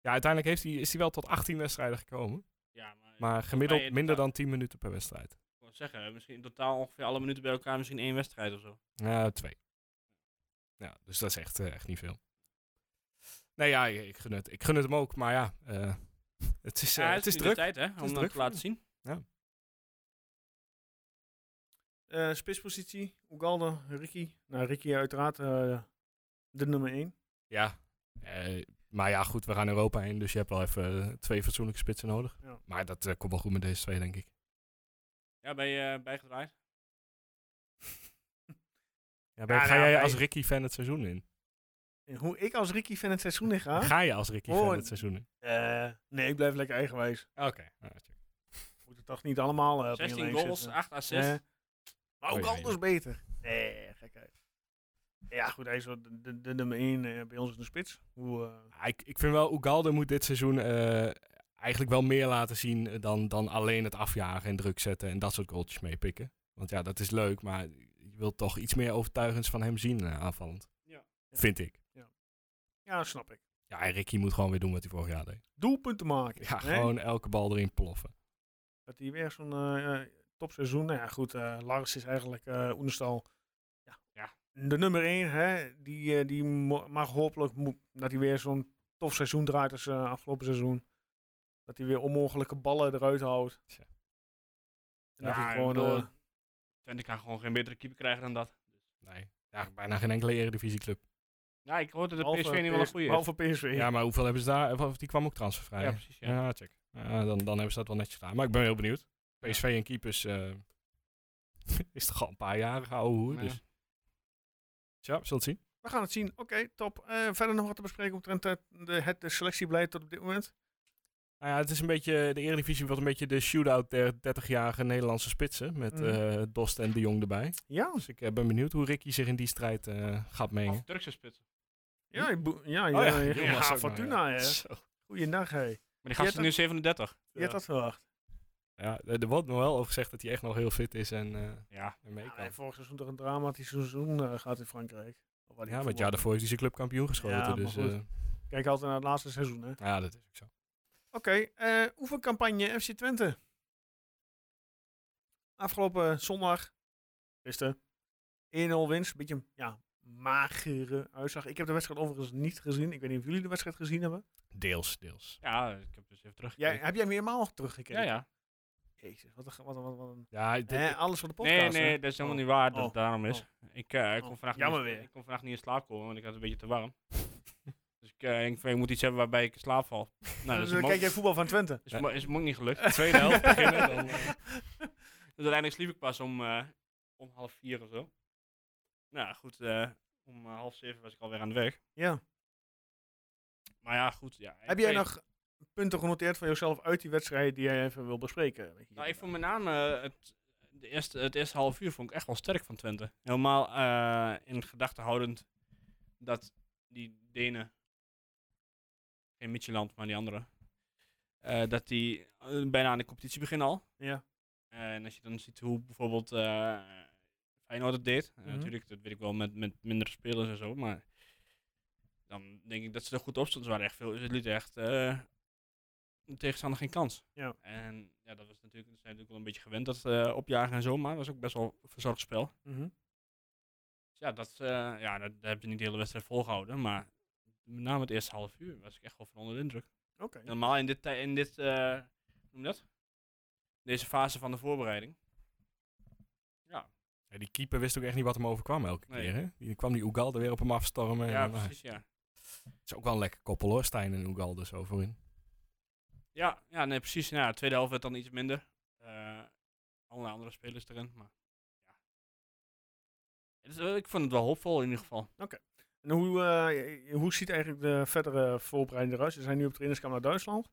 Ja, uiteindelijk heeft hij is hij wel tot 18 wedstrijden gekomen.
Ja, maar,
Maar
mij
gemiddeld
in
minder
totaal-
dan 10 minuten per wedstrijd.
ik wou zeggen, misschien in totaal ongeveer alle minuten bij elkaar misschien één wedstrijd of zo.
Ja, Eh, twee. Ja, dus dat is echt, eh, echt niet veel. Nee, ja, ik ik gun het, ik gun het hem ook. Maar ja, eh, (laughs) het is, eh,
Ja,
het is
nu
druk.
De tijd, hè, om dat
druk
te laten zien.
Eh, spitspositie, Ugalde, Ricky. Nou, Ricky uiteraard eh, de nummer 1.
Ja, eh, maar ja, goed, we gaan Europa in. Dus je hebt wel even eh, twee fatsoenlijke spitsen nodig.
Ja.
Maar dat eh, komt wel goed met deze twee, denk ik.
Ja, ben je eh, bijgedraaid?
Ja,
ben-
ga
nou,
jij
wij-
als Ricky-fan het seizoen in?
En hoe ik als Ricky van het seizoen in ga?
Ga je als Ricky
Oh,
van
en-
het seizoen in?
(laughs) Eh, nee, ik blijf lekker eigenwijs.
Oké. nou,
Moet het toch niet allemaal eh, op
16
één lijn
goals,
zetten.
8 assists.
Eh, maar ook
Oei, oei,
anders beter. Nee, gekheid. Ja, goed, hij is wel de, de, de nummer 1 bij ons in de spits. Hoe, eh,
Ah, ik, ik vind wel, Ugalde moet dit seizoen eh, eigenlijk wel meer laten zien eh, dan, dan alleen het afjagen en druk zetten en dat soort goaltjes meepikken. Want ja, dat is leuk, maar je wilt toch iets meer overtuigends van hem zien eh, aanvallend.
Ja.
Vind ik.
ja, snap ik.
Ja, en Ricky moet gewoon weer doen wat hij vorig jaar deed.
Doelpunten maken.
Ja,
hè?
gewoon elke bal erin ploffen.
Dat hij weer zo'n eh, eh, topseizoen. Nou ja, goed, eh, Lars is eigenlijk eh Oenestal. Ja.
Ja.
De nummer 1, hè, die, eh, die mo- mag hopelijk mo- dat hij weer zo'n tof seizoen draait als eh, afgelopen seizoen. Dat hij weer onmogelijke ballen eruit houdt.
Tja.
En dat
Ja,
hij
ik
gewoon,
bedoel,
eh,
Twente kan gewoon geen betere keeper krijgen dan dat.
Nee. Ja, bijna geen enkele eredivisieclub.
Ja, ik hoorde dat
behalve
PSV nu wel een
PS-
goede
Behalve PSV.
Ja, maar hoeveel hebben ze daar? Of die kwam ook transfervrij.
Ja,
hè?
precies. Ja.
Ja, check. Ja, dan, dan hebben ze dat wel netjes gedaan. Maar ik ben heel benieuwd. PSV en keepers eh, (laughs) is toch al een paar jaar ouwe hoer.
Ja.
Dus. Tja, we zullen het zien.
We gaan het zien. Oké, top. Eh, verder nog wat te bespreken omtrent het, de, het eh, selectiebeleid tot op dit moment.
Nou ja, het is een beetje, de Eredivisie was een beetje de shootout der 30-jarige Nederlandse spitsen. Met
Mhm.
eh, Dost en de Jong erbij.
Ja.
Dus ik eh, ben benieuwd hoe Ricky zich in die strijd eh, gaat mengen.
Of Turkse spitsen.
Ja, ik boe- ja, ja,
ja,
Oh
ja,
Yilmaz ook nog,
Fortuna. hè.
(laughs) Zo.
Goeiedag, hè.
Maar die gast is
Jetten.
nu 37.
Je had dat verwacht.
Ja, er er wordt nog wel over gezegd dat hij echt nog heel fit is en, eh
Ja.
en mee
Ja,
kan.
hij heeft vorig seizoen toch een dramatisch seizoen eh, gehad in Frankrijk. Waar hij
Ja, maar het
voetbal-
jaar daarvoor is hij zijn club kampioen geschoten.
Ja, maar
dus
goed.
eh,
Kijk altijd naar het laatste seizoen, hè.
ja, dat is ook zo.
Oké, eh oefencampagne FC Twente. Afgelopen zondag, gisteren, 1-0 winst. Beetje een ja, magere uitslag. Ik heb de wedstrijd overigens niet gezien. Ik weet niet of jullie de wedstrijd gezien hebben.
Deels, deels.
Ja, ik heb dus even
Jij,
teruggekeken.
heb jij meermaal teruggekeken?
ja, ja.
Jezus, wat een... Wat een, wat een
Ja, dit-
hè, alles voor de podcast,
Nee, nee,
hè?
dat is helemaal
Oh.
niet waar dat
Oh.
het daarom is. Ik, eh, ik,
Oh,
kon vannacht
jammer
niet,
weer.
ik kon vannacht niet in slaap komen, want ik had een beetje te warm. (laughs) dus ik eh, denk van, ik moet iets hebben waarbij ik in slaap
(laughs)
val. Nou, dat
Dus
is,
dan
mo-
kijk jij voetbal van Twente.
is, mo- is me ook niet
(laughs)
gelukt.
tweede helft beginnen, dan, eh.
Dus uiteindelijk sliep ik pas om, eh, om half vier of zo. Nou goed, eh, om eh, half zeven was ik alweer aan de weg.
Ja.
Maar ja, goed. Ja,
Heb jij
Hey,
nog punten genoteerd van jouzelf uit die wedstrijd die jij even wil bespreken? Weet je?
Nou, ik vond met name eh, het, de eerste, het eerste half uur vond ik echt wel sterk van Twente. Helemaal eh, in gedachten houdend dat die Denen, geen Micheland, maar die andere, eh, dat die eh, bijna aan de competitie beginnen al.
Ja.
en als je dan ziet hoe bijvoorbeeld eh Feyenoord het deed, eh,
Mhm.
natuurlijk, dat weet ik wel, met, met minder spelers en zo, maar dan denk ik dat ze er goed op stonden. Ze waren echt veel, ze lieten echt eh, de tegenstander geen kans.
Ja.
En ja, dat was natuurlijk, ze zijn natuurlijk wel een beetje gewend dat eh, opjagen en zo, maar dat was ook best wel een verzorgd spel.
Mhm.
Dus ja, dat, eh, ja, dat, dat hebben ze niet de hele wedstrijd volgehouden, maar met name het eerste half uur was ik echt wel van onder de indruk.
Oké.
Normaal in dit, tij- in dit eh, hoe noem je dat? Deze fase van de voorbereiding.
Ja, die keeper wist ook echt niet wat hem overkwam elke
Nee.
keer. Hè? Die kwam die Ugalde weer op hem afstormen.
Ja,
en, dan-
precies, ja.
Het is ook wel een lekker koppel hoor, Stijn en Ugalde zo voorin.
Ja, ja, nee, precies. Nou, ja, de tweede helft werd dan iets minder. Eh allerlei andere spelers erin, maar ja. Het is wel- ik vond het wel hoopvol in ieder geval.
En hoe, eh, hoe ziet eigenlijk de verdere voorbereiding eruit? Ze zijn nu op trainingskamp naar Duitsland.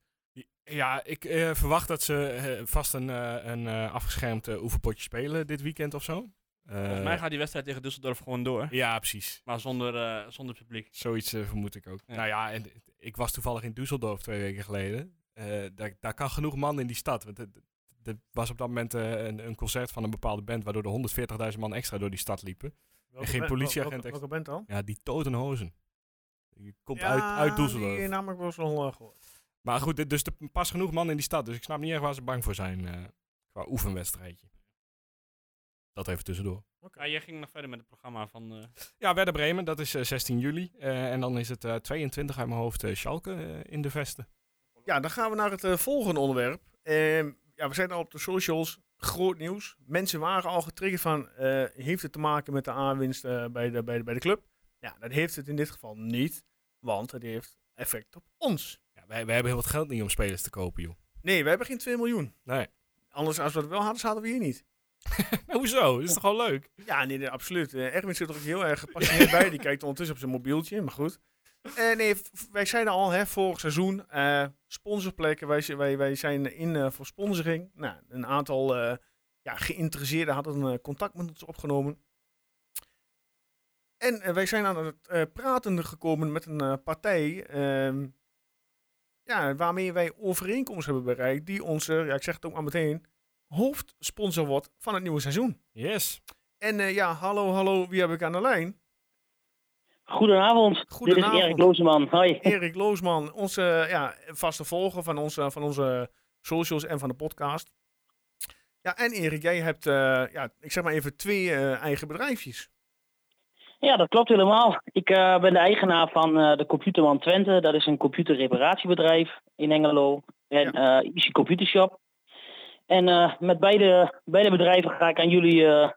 Ja, ik eh, verwacht dat ze eh, vast een, eh, een eh, afgeschermd eh, oefenpotje spelen dit weekend of zo.
Volgens
Eh,
mij gaat die wedstrijd tegen Düsseldorf gewoon door,
Ja, precies.
maar zonder, eh, zonder publiek.
Zoiets eh, vermoed ik ook.
Ja.
Nou ja, en, ik was toevallig in Düsseldorf twee weken geleden. Eh, daar, daar kan genoeg man in die stad. Want het- er was op dat moment eh, een, een concert van een bepaalde band... waardoor er 140.000 man extra door die stad liepen.
Welke
geen
ben-
politieagent
welke-
extra.
Welke bent dan?
Ja, die Totenhozen. Die komt
Ja,
uit, uit Düsseldorf.
Die eh, namelijk wel zo'n eh, gehoord.
Maar goed, dit- dus er pas genoeg man in die stad. Dus ik snap niet echt waar ze bang voor zijn eh, qua oefenwedstrijdje. Dat even tussendoor.
Ja, jij ging nog verder met het programma van... eh,
Ja, Werder Bremen, dat is eh, 16 juli. Eh, en dan is het eh, 22 uit mijn hoofd eh, Schalke eh, in de vesten.
Ja, dan gaan we naar het eh, volgende onderwerp. Ehm, ja, we zijn al op de socials. Groot nieuws. Mensen waren al getriggerd van, eh, heeft het te maken met de aanwinst eh, bij, de, bij, de, bij de club? Ja, dat heeft het in dit geval niet, want het heeft effect op ons.
Ja, wij, wij hebben heel wat geld niet om spelers te kopen, joh.
Nee, we hebben geen 2 miljoen.
Nee. (laughs)
Anders, als we het wel hadden, zaten we hier niet.
Nou, hoezo? Dat is toch gewoon leuk?
Ja, nee, nee, absoluut. Eh, Erwin zit er ook heel erg gepassioneerd bij. Die kijkt ondertussen op zijn mobieltje, maar goed. Eh, nee, v- wij zeiden al, hè, vorig seizoen, eh, sponsorplekken. Wij, zi- wij, wij zijn in eh, voor sponsoring. Nou, een aantal eh, ja, geïnteresseerden hadden eh, contact met ons opgenomen. En eh, wij zijn aan het eh, praten gekomen met een eh, partij ehm, ja, waarmee wij overeenkomst hebben bereikt. Die onze, ja, ik zeg het ook maar meteen, hoofdsponsor wordt van het nieuwe seizoen.
Yes.
En eh, ja, hallo, hallo, wie heb ik aan de lijn?
Goedenavond.
Goedenavond.
Dit is Erik Lozeman. Hoi.
Erik Loosman, onze eh, ja, vaste volger van onze, van onze socials en van de podcast. Ja, en Erik, jij hebt, eh, ja, ik zeg maar even, twee eh, eigen bedrijfjes.
Ja, dat klopt helemaal. Ik eh, ben de eigenaar van eh, de Computerman Twente. Dat is een computerreparatiebedrijf in Engelo. En eh Easy Computer Shop. En eh, met beide, beide bedrijven ga ik aan jullie eh,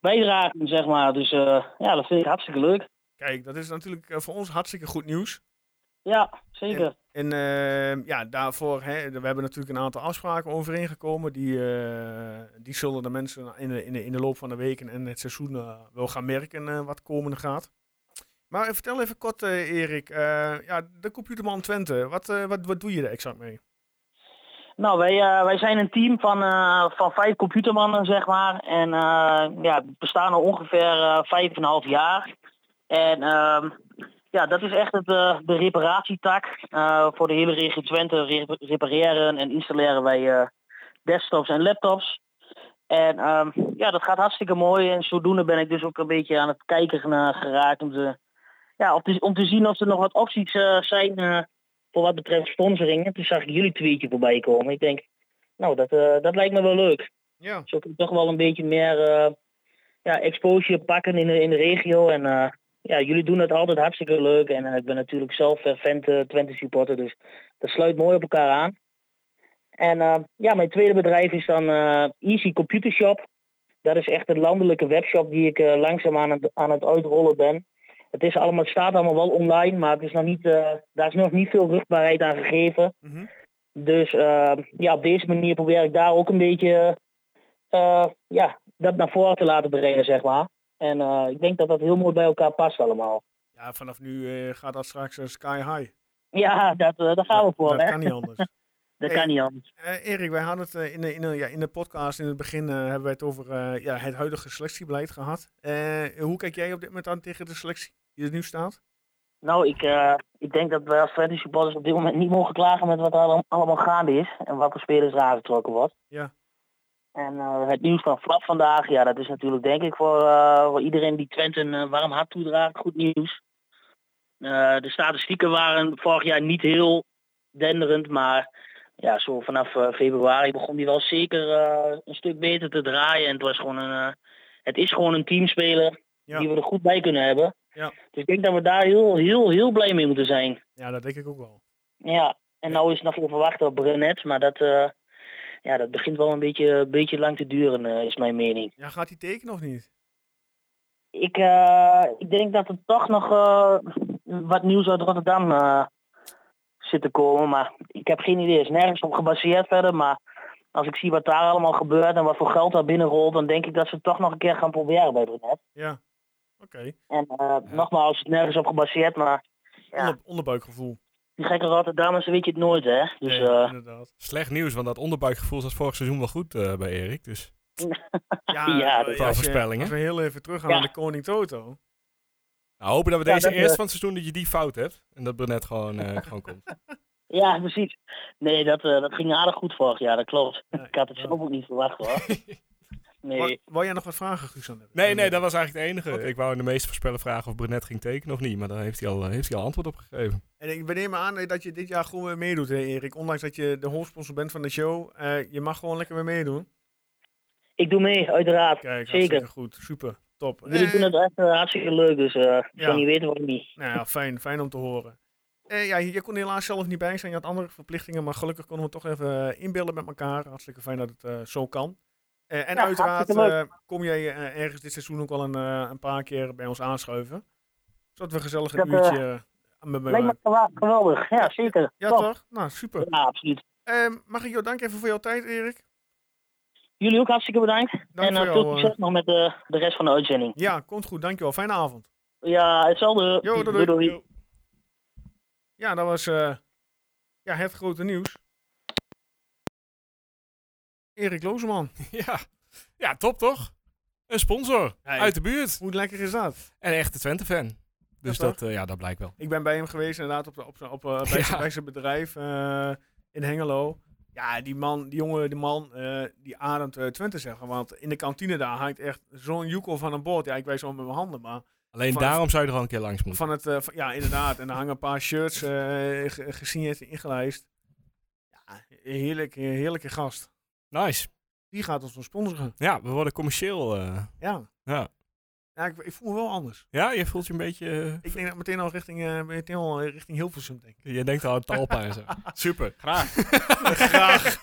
bijdragen, zeg maar. Dus eh, ja, dat vind ik hartstikke leuk.
Kijk, dat is natuurlijk eh, voor ons hartstikke goed nieuws.
Ja, zeker.
En eh, ja, daarvoor, hè, we hebben natuurlijk een aantal afspraken overeengekomen. Die, eh, die zullen de mensen in de, in, de, in de loop van de weken en het seizoen eh, wel gaan merken eh, wat komende gaat. Maar eh, vertel even kort, eh, Erik. eh, ja, de computerman Twente, wat, eh, wat, wat doe je er exact mee?
Nou, wij, eh, wij zijn een team van, eh, van vijf computermannen, zeg maar. En eh, ja, we bestaan al ongeveer eh, vijf en een half jaar. En ehm, Ja, dat is echt het, eh, de reparatietak. Eh, voor de hele regio Twente rep- repareren en installeren wij eh, desktops en laptops. En ehm, ja, dat gaat hartstikke mooi. En zodoende ben ik dus ook een beetje aan het kijken naar geraakt om te, ja, om te, om te zien of er nog wat opties eh, zijn eh, voor wat betreft sponsoring. En toen zag ik jullie tweetje voorbij komen. Ik denk, nou, dat, eh, dat lijkt me wel leuk.
Ja,
Zo kun je toch wel een beetje meer eh, ja, exposure pakken in de, in de regio. En eh, ja, jullie doen het altijd hartstikke leuk. En eh, ik ben natuurlijk zelf eh, fan eh, Twente supporter, dus dat sluit mooi op elkaar aan. En eh, ja, mijn tweede bedrijf is dan eh, Easy Computer Shop. Dat is echt een landelijke webshop die ik eh, langzaam aan het, aan het uitrollen ben. Het is allemaal, het staat allemaal wel online, maar het is nog niet, eh, daar is nog niet veel rugbaarheid aan gegeven.
Mhm.
Dus eh, ja, op deze manier probeer ik daar ook een beetje eh, eh, ja, dat naar voren te laten brengen, zeg maar. En eh, ik denk dat dat heel mooi bij elkaar past allemaal.
ja vanaf nu eh, gaat dat straks eh, sky high.
Ja, dat, eh, daar gaan we voor,
dat
hè.
kan niet anders.
dat
Hey.
kan niet anders.
Eh, Erik, wij hadden het eh, in, de, in, de, ja, in de podcast in het begin eh, hebben wij het over eh, ja, het huidige selectiebeleid gehad. Eh, hoe kijk jij op dit moment aan tegen de selectie die er nu staat?
Nou, ik, eh, ik denk dat wij als Freddy supporters op dit moment niet mogen klagen met wat er allem- allemaal gaande is. En wat voor spelers er aangetrokken wordt.
Ja.
En eh, het nieuws van Flap vandaag, ja, dat is natuurlijk denk ik voor, eh, voor iedereen die Twente een eh, warm hart toedraagt, goed nieuws. Eh, de statistieken waren vorig jaar niet heel denderend, maar ja, zo vanaf eh, februari begon die wel zeker eh, een stuk beter te draaien. En het, was gewoon een, eh, het is gewoon een teamspeler
Ja.
die we er goed bij kunnen hebben.
Ja.
Dus ik denk dat we daar heel, heel, heel blij mee moeten zijn.
Ja, dat denk ik ook wel.
Ja, en nou is nog even wachten op Brunet, maar dat, eh, ja, dat begint wel een beetje, een beetje lang te duren, eh, is mijn mening.
Ja, gaat die tekenen of niet?
Ik, eh, ik denk dat er toch nog eh, wat nieuws uit Rotterdam eh, zit te komen, maar ik heb geen idee. Het is nergens op gebaseerd verder, maar als ik zie wat daar allemaal gebeurt en wat voor geld daar binnenrolt, dan denk ik dat ze het toch nog een keer gaan proberen bij Brunet.
Ja, oké.
En eh, nogmaals, het is nergens op gebaseerd, maar Ja.
Onder- onderbuikgevoel.
die gekke Rotterdammers weet je het nooit, hè. Dus
Nee,
eh, (laughs)
inderdaad.
Slecht nieuws, want dat onderbuikgevoel zat vorig seizoen wel goed eh, bij Erik. Dus
Ja,
eh,
dat-
als je-
voorspellingen.
Als we heel even teruggaan
Ja.
naar de Koning Toto.
nou, hopen dat we
Ja,
deze
dat,
eerst
eh,
van het seizoen dat je die fout hebt. En dat Brunet gewoon, eh, (laughs) gewoon komt.
Ja, precies. Nee, dat, eh, dat ging aardig goed vorig jaar, dat klopt. Ik had het zelf ook niet verwacht
(laughs)
hoor.
Wou,
Nee,
wou jij nog wat vragen, Guus? aan hebben?
Nee, nee, dat was eigenlijk het enige. Ik wou aan de meeste voorspellen vragen of Brunet ging tekenen of niet. Maar daar heeft hij al, heeft hij al antwoord op gegeven.
En ik neem me aan eh, dat je dit jaar gewoon weer meedoet, hè, Erik. Ondanks dat je de hoofdsponsor bent van de show. eh, je mag gewoon lekker weer meedoen.
ik doe mee, uiteraard.
Kijk, hartstikke
Zeker.
goed. Super. Top.
Jullie
Eh,
doen het echt eh, hartstikke leuk, dus eh ik
Ja.
zou niet weten waarom niet.
Nou ja, fijn, fijn om te horen. Eh, ja, je kon helaas zelf niet bij zijn, je had andere verplichtingen, maar gelukkig konden we toch even eh, inbellen met elkaar. Hartstikke fijn dat het eh, zo kan. Eh, en
Ja,
uiteraard
hartstikke
eh, kom jij eh, ergens dit seizoen ook wel een, eh, een paar keer bij ons aanschuiven. Zodat we gezellig een
Dat, eh,
uurtje eh, met
Lijkt me
elkaar...
gewa- geweldig, ja zeker.
Ja
Top.
toch? Nou, super.
Ja, absoluut.
Eh, mag ik jou danken even voor jouw tijd, Erik?
Jullie ook hartstikke bedankt.
Dank
en
voor
eh,
jou,
veel
eh.
succes nog met eh, de rest van de uitzending.
Ja, komt goed, dankjewel. Fijne avond.
Ja, hetzelfde.
Jo, doei, doei. Ja, dat was eh, ja, het grote nieuws. Erik Lozeman,
Ja. ja, top toch? Een sponsor
Hey.
uit de buurt.
hoe lekker is dat?
En een echte Twente-fan. Dus
toch?
dat, eh, ja, dat blijkt wel.
Ik ben bij hem geweest inderdaad op, de, op, zijn- op, eh, bij,
Ja.
zijn, bij zijn bedrijf eh, in Hengelo. Ja, die man, die jongen, die man, eh, die ademt eh, Twente zeggen. Want in de kantine daar hangt echt zo'n joekel van een bord. Ja, ik wijs wel met mijn handen, maar
Alleen
Van-
daarom zou je er al een keer langs moeten.
van het, eh, van- ja, inderdaad. En er hangen een paar shirts eh ge- gesigneerd en ingelijst. Ja, heerlijk, heerlijke gast.
Nice.
Die gaat ons wel sponsoren.
Ja, we worden commercieel. eh.
Ja.
Ja.
Ja, ik, ik voel me wel anders.
Ja, je voelt je een beetje... eh,
Ik denk dat meteen al richting, eh, meteen al richting Hilversum, denk ik.
Je denkt al aan Talpa en zo. Super. (laughs) Graag.
Graag.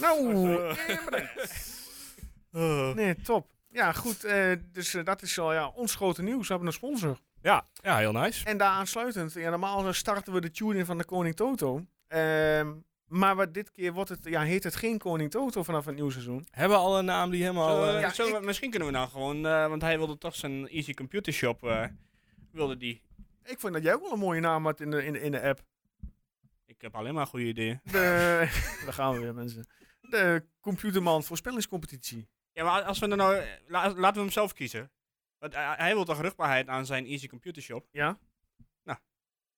nou, (laughs) Oh. Nee, top. Ja, goed. eh, dus eh, dat is al ja, ons grote nieuws. We hebben een sponsor.
Ja, ja, heel nice.
En daaraansluitend, ja, normaal starten we de tune-in van de Koning Toto. Ehm, maar wat, dit keer wordt het, ja, heet het geen Koning Toto vanaf het nieuwe seizoen.
Hebben we al een naam die helemaal...
Zullen we-
eh,
ja,
zullen we-
ik-
Misschien kunnen we nou gewoon, eh, want hij wilde toch zijn Easy Computer Shop, eh, wilde die.
Ik vind dat jij ook wel een mooie naam had in de, in de, in de app.
Ik heb alleen maar goede ideeën.
(laughs) De, daar gaan we weer, mensen. De Computerman voorspellingscompetitie.
eh, Ja, maar als we er nou, la- laten we hem zelf kiezen. Want hij, hij wil toch rugbaarheid aan zijn Easy Computer Shop?
Ja?
Nou.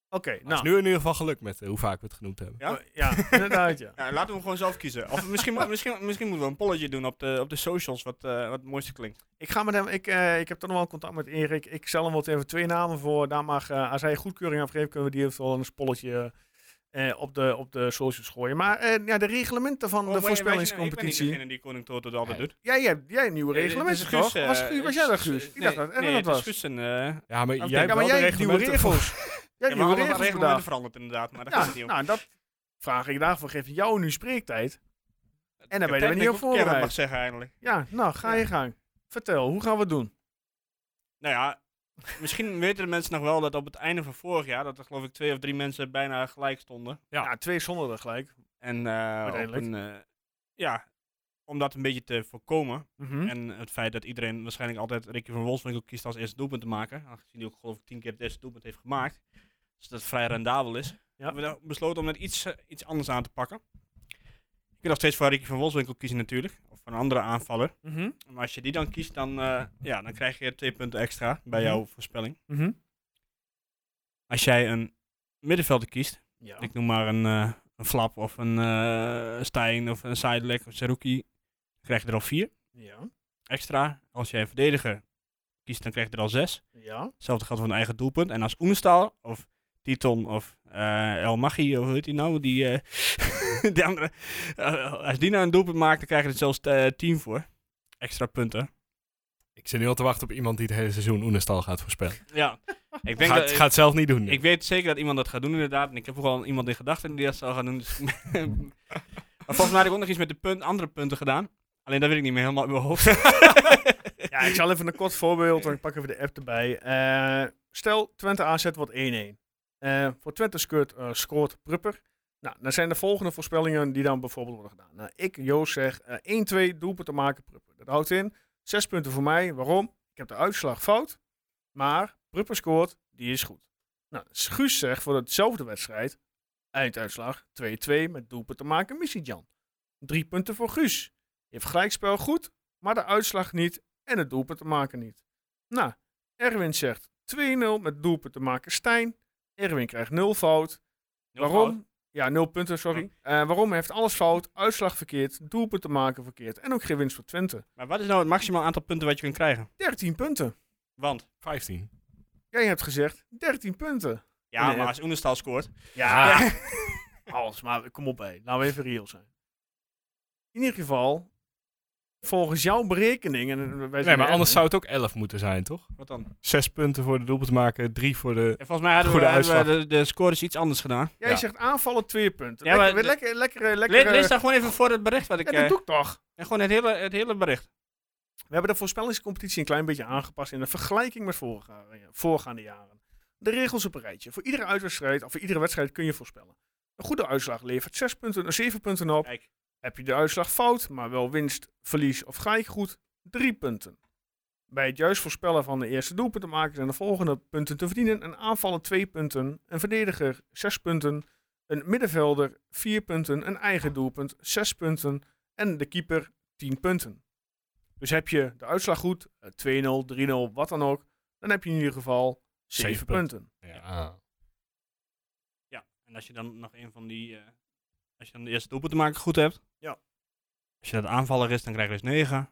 Oké,
Nou. Is
nou.
nu in ieder geval gelukt met eh, hoe vaak we het genoemd hebben.
Oh, Ja?
Ja, inderdaad, ja.
Ja, laten we hem gewoon zelf kiezen. Of misschien, moet- misschien, misschien moeten we een polletje doen op de, op de socials, wat, eh, wat het mooiste klinkt.
(laughs) Ik ga met hem, ik, eh, ik heb toch nog wel contact met Erik. Ik zal hem wat even twee namen voor. Daar mag, eh, als hij goedkeuring afgeeft, kunnen we die eventueel een spolletje eh, op, de, op de socials gooien. Maar eh, ja, de reglementen
Oh,
van de
Ik
voorspellingscompetitie.
ben niet degene die Koning Toto dat altijd
Nee.
doet.
Jij, jij, jij hebt nieuwe
Nee, dit
reglementen,
is Guus,
toch?
eh,
was, Guus- was jij dat, Guus? Ik
nee,
dacht dat Erwin
nee,
dat
het is
was.
Guus en... eh,
Ja, maar
Oké,
jij,
Ja,
hebt
maar
wel
jij
de
hebt nieuwe
reglementen voor-
(laughs)
regels. Jij
ja,
hebt
maar
nieuwe
we hebben
regels
reglementen
bedacht.
veranderd inderdaad, maar daar gaat het niet
Ja, nou,
om.
dat vraag ik daarvoor. Geef ik jou nu spreektijd. En dan ben je er
Captain,
niet
ik
op
ook een keer wat mag
voorbereid.
zeggen eigenlijk.
Ja, nou, ga
Ja.
je gang. Vertel, hoe gaan we het doen?
Nou ja, misschien weten de mensen nog wel dat op het einde van vorig jaar, dat er geloof ik twee of drie mensen bijna gelijk stonden.
Ja, Nou, twee zonder er gelijk.
En eh, op
Uiteindelijk.
een, eh, ja, om dat een beetje te voorkomen.
Mhm.
En het feit dat iedereen waarschijnlijk altijd Ricky van Wolfswinkel kiest als eerste doelpunt te maken. Aangezien hij ook geloof ik tien keer het eerste doelpunt heeft gemaakt. Dus dat het vrij rendabel is. Hebben we nou besloten om net iets, eh, iets anders aan te pakken. Je kunt nog steeds voor Ricky van Wolfswinkel kiezen natuurlijk. Of voor een andere aanvaller.
Mhm.
Maar als je die dan kiest, dan, eh, ja, dan krijg je twee punten extra bij
Mhm.
jouw voorspelling.
Mhm.
Als jij een middenvelder kiest,
Ja.
ik noem maar een, eh, een Flap of een eh, Stijn of een Sidelek of Seruki, krijg je er al vier
Ja.
extra. Als jij een verdediger kiest, dan krijg je er al zes.
Ja.
Hetzelfde geldt voor een eigen doelpunt. En als Oenestaal of Titon of eh, El Maghi, of hoe heet die nou? Die, eh, (laughs) die andere. eh, als die nou een doelpunt maakt, dan krijg je er zelfs eh, tien voor. Extra punten.
Ik zit nu al te wachten op iemand die het hele seizoen Oenestal gaat voorspellen.
Ja, ik denk
Gaat,
dat,
gaat zelf niet doen.
Ik weet zeker dat iemand dat gaat doen, inderdaad. En ik heb ook al iemand in gedachten die dat zal gaan doen. Dus (laughs) maar volgens mij had ik ook nog iets met de punt, andere punten gedaan. Alleen dat weet ik niet meer helemaal in mijn
(laughs)
hoofd.
Ja, ik zal even een kort voorbeeld, want ik pak even de app erbij. Eh, stel, Twente AZ wordt 1-1. Eh, voor Twente scoort, eh, scoort Prupper. Nou, dan zijn de volgende voorspellingen die dan bijvoorbeeld worden gedaan. Nou, ik, Joost, zeg eh, 1-2 doelpunt te maken Prupper. Dat houdt in, 6 punten voor mij. Waarom? Ik heb de uitslag fout, maar Prupper scoort, die is goed. Nou, Guus zegt voor hetzelfde wedstrijd, einduitslag 2-2 met doelpunt te maken Missy-Jan. 3 punten voor Guus. Je hebt gelijkspel goed, maar de uitslag niet en het doelpunt te maken niet. Nou, Erwin zegt 2-0 met doelpunt te maken Stijn. Erwin krijgt 0 fout. waarom? Ja, 0 punten, sorry. Eh, waarom? Hij heeft alles fout, uitslag verkeerd, doelpunt te maken verkeerd en ook geen winst voor Twente.
Maar wat is nou het maximaal aantal punten wat je kunt krijgen?
13 punten.
Want,
15.
Jij hebt gezegd 13 punten.
ja,
Nee.
maar als Oenestal scoort...
(laughs) Ja, alles, maar kom op hé. Laten we even reëel zijn. In ieder geval, volgens jouw berekening... En, eh, wij zijn
Nee, maar
Erwin,
anders zou het ook 11 moeten zijn, toch?
Wat dan?
Zes punten voor de doelpunt maken, drie voor de...
En volgens mij hadden
Goede
we, hadden we
uitslag.
de, de scores iets anders gedaan.
Jij
Ja.
zegt aanvallen 2 punten.
Ja,
lekker,
maar-
lekker, lekker,
Le
lekker... eh,
lees daar gewoon even voor het bericht wat ik...
ja,
eh,
dat doe ik toch.
en gewoon het hele, het hele bericht.
We hebben de voorspellingscompetitie een klein beetje aangepast in de vergelijking met vorige- eh, voorgaande jaren. De regels op een rijtje. Voor iedere uitwedstrijd, of voor iedere wedstrijd kun je voorspellen. Een goede uitslag levert 6 punten, 7 punten op.
Kijk.
Heb je de uitslag fout, maar wel winst, verlies of gelijk goed, 3 punten. Bij het juist voorspellen van de eerste doelpunt te maken zijn de volgende punten te verdienen. Een aanvaller 2 punten, een verdediger 6 punten, een middenvelder 4 punten, een eigen doelpunt 6 punten en de keeper 10 punten. Dus heb je de uitslag goed, eh, 2-0, 3-0, wat dan ook, dan heb je in ieder geval 7
Zeven
punten.
Ja.
Ja, en als je dan nog een van die... eh, als je dan de eerste doelpunt te maken goed hebt...
Ja.
Als je dat aanvaller is, dan krijg je dus 9.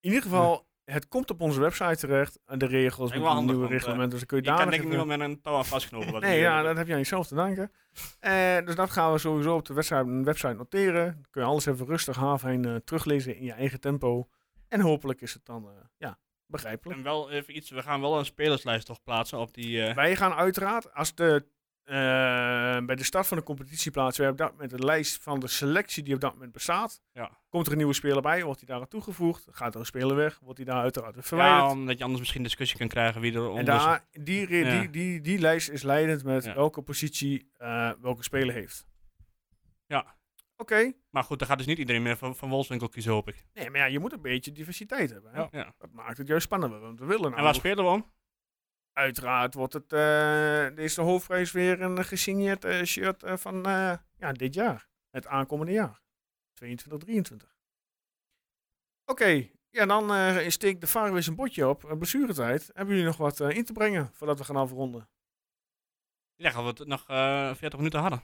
In ieder geval, het komt op onze website terecht. En de regels,
Lijkt
met
wel
de
handig,
nieuwe
want, eh,
reglementen, dus dan kun je
Je
daar
kan
nog
denk ik
even-
niet meer met een touw aan
(laughs)
vastknopen. wat eh,
Nee,
ik hier
ja,
heb.
dat heb je aan jezelf te danken. Eh, dus dat gaan we sowieso op de website, website noteren. Dan kun je alles even rustig haafheen eh teruglezen in je eigen tempo. En hopelijk is het dan eh, ja, begrijpelijk.
En wel even iets, we gaan wel een spelerslijst toch plaatsen op die... eh,
Wij gaan uiteraard, als de, eh, bij de start van de competitie plaatsen, we op dat moment de lijst van de selectie die op dat moment bestaat.
Ja.
Komt er een nieuwe speler bij, wordt die daar aan toegevoegd? Gaat er een speler weg, wordt die daar uiteraard weer verwijderd?
ja, omdat je anders misschien discussie kan krijgen wie er
En
onder zit.
daar, die, re-
dus Ja.
die, die, die lijst is leidend met
Ja.
welke positie eh, welke speler heeft.
Ja.
Oké.
Maar goed, daar gaat dus niet iedereen meer van, van Wolfswinkel kiezen, hoop ik.
Nee, maar ja, je moet een beetje diversiteit hebben. hè.
Ja.
Dat maakt het juist spannender, want we willen
En waar
nou...
spelen we om?
Uiteraard wordt het, eh deze hoofdprijs weer een gesigneerd eh, shirt eh, van eh, ja, dit jaar. Het aankomende jaar. 22, 23. Oké, Ja, dan eh, steekt de VAR weer zijn botje op. eh, blessuretijd. Hebben jullie nog wat eh, in te brengen voordat we gaan afronden?
Ja, gaan we het nog eh, 40 minuten hadden.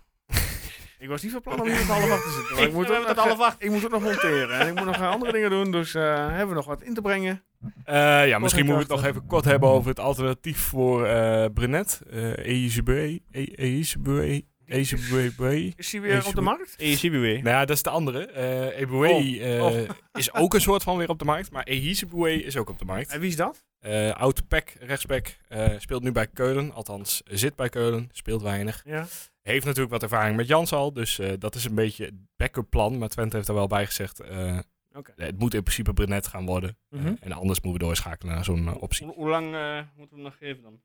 Ik was niet van plan om hier tot half acht te zitten. maar
(laughs) Ik-
ik, moet
we
ook
hebben
nog,
tot half
eh, ik moet ook nog monteren. En ik moet nog eh, andere dingen doen. Dus eh, hebben we nog wat in te brengen?
Eh, ja, misschien
niet
moeten we het nog even kort hebben over het alternatief voor eh Brenet. Eh Eizebue. E- Eizebue. Eizebue.
Is die
Hey,
weer op de
Sjoerd.
markt?
ECBW.
Nou ja, dat is de andere. Eh Ebue eh,
oh.
(laughs) is ook een soort van weer op de markt. Maar Eizebue is ook op de markt.
En wie is dat?
Eh oud pack, rechtsback, eh, speelt nu bij Keulen. Althans, zit bij Keulen, speelt weinig.
Ja.
Heeft natuurlijk wat ervaring met Jans al, dus eh, dat is een beetje het backup plan. Maar Twente heeft er wel bij gezegd, eh,
Oké.
het moet in principe Brenet gaan worden.
Mhm.
Eh, en anders moeten we doorschakelen naar zo'n eh, optie.
Hoe, hoe lang eh, moeten we hem nog geven dan?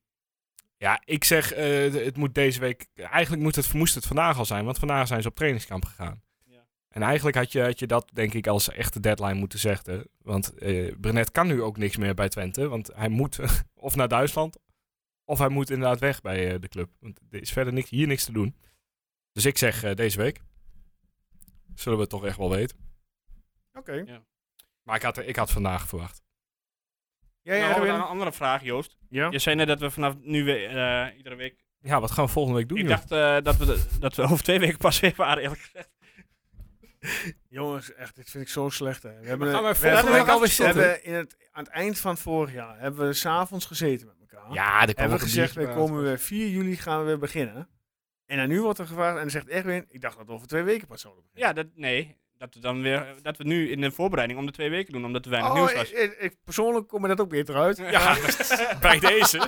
Ja, ik zeg, eh, d- het moet deze week. Eigenlijk moet het, moest het vandaag al zijn, want vandaag zijn ze op trainingskamp gegaan.
Ja.
En eigenlijk had je, had je dat, denk ik, als echte deadline moeten zeggen. Want eh Brenet kan nu ook niks meer bij Twente. Want hij moet (laughs) of naar Duitsland. Of hij moet inderdaad weg bij eh, de club. Want er is verder niks, hier niks te doen. Dus ik zeg eh, deze week. Zullen we het toch echt wel weten.
Oké.
Maar ik had, ik had vandaag verwacht.
Jij,
nou,
Erwin?
dan een andere vraag, Joost.
Ja.
Je zei net dat we vanaf nu weer, eh, iedere week...
Ja, wat gaan we volgende week doen?
ik
joh?
dacht eh, dat, we de- dat we over twee weken pas weer waren, eerlijk gezegd.
Jongens, echt, dit vind ik zo slecht. Hè. We hebben,
gaan maar
we
volgende
hebben-
week alweer
we
zitten.
hebben in het, aan het eind van vorig jaar hebben we s'avonds gezeten met elkaar.
Ja, dat kan
hebben
wel
we gezegd, we komen weer 4 juli gaan we weer beginnen. En dan nu wordt er gevraagd en dan zegt Erwin, ik dacht dat we over twee weken pas zouden beginnen.
Ja, dat, nee. Dat we, dan weer, dat we nu in de voorbereiding om de twee weken doen, omdat er weinig
Oh,
nieuws
ik,
was.
ik, ik- persoonlijk kom me dat ook weer eruit.
(laughs)
Ja, bij deze.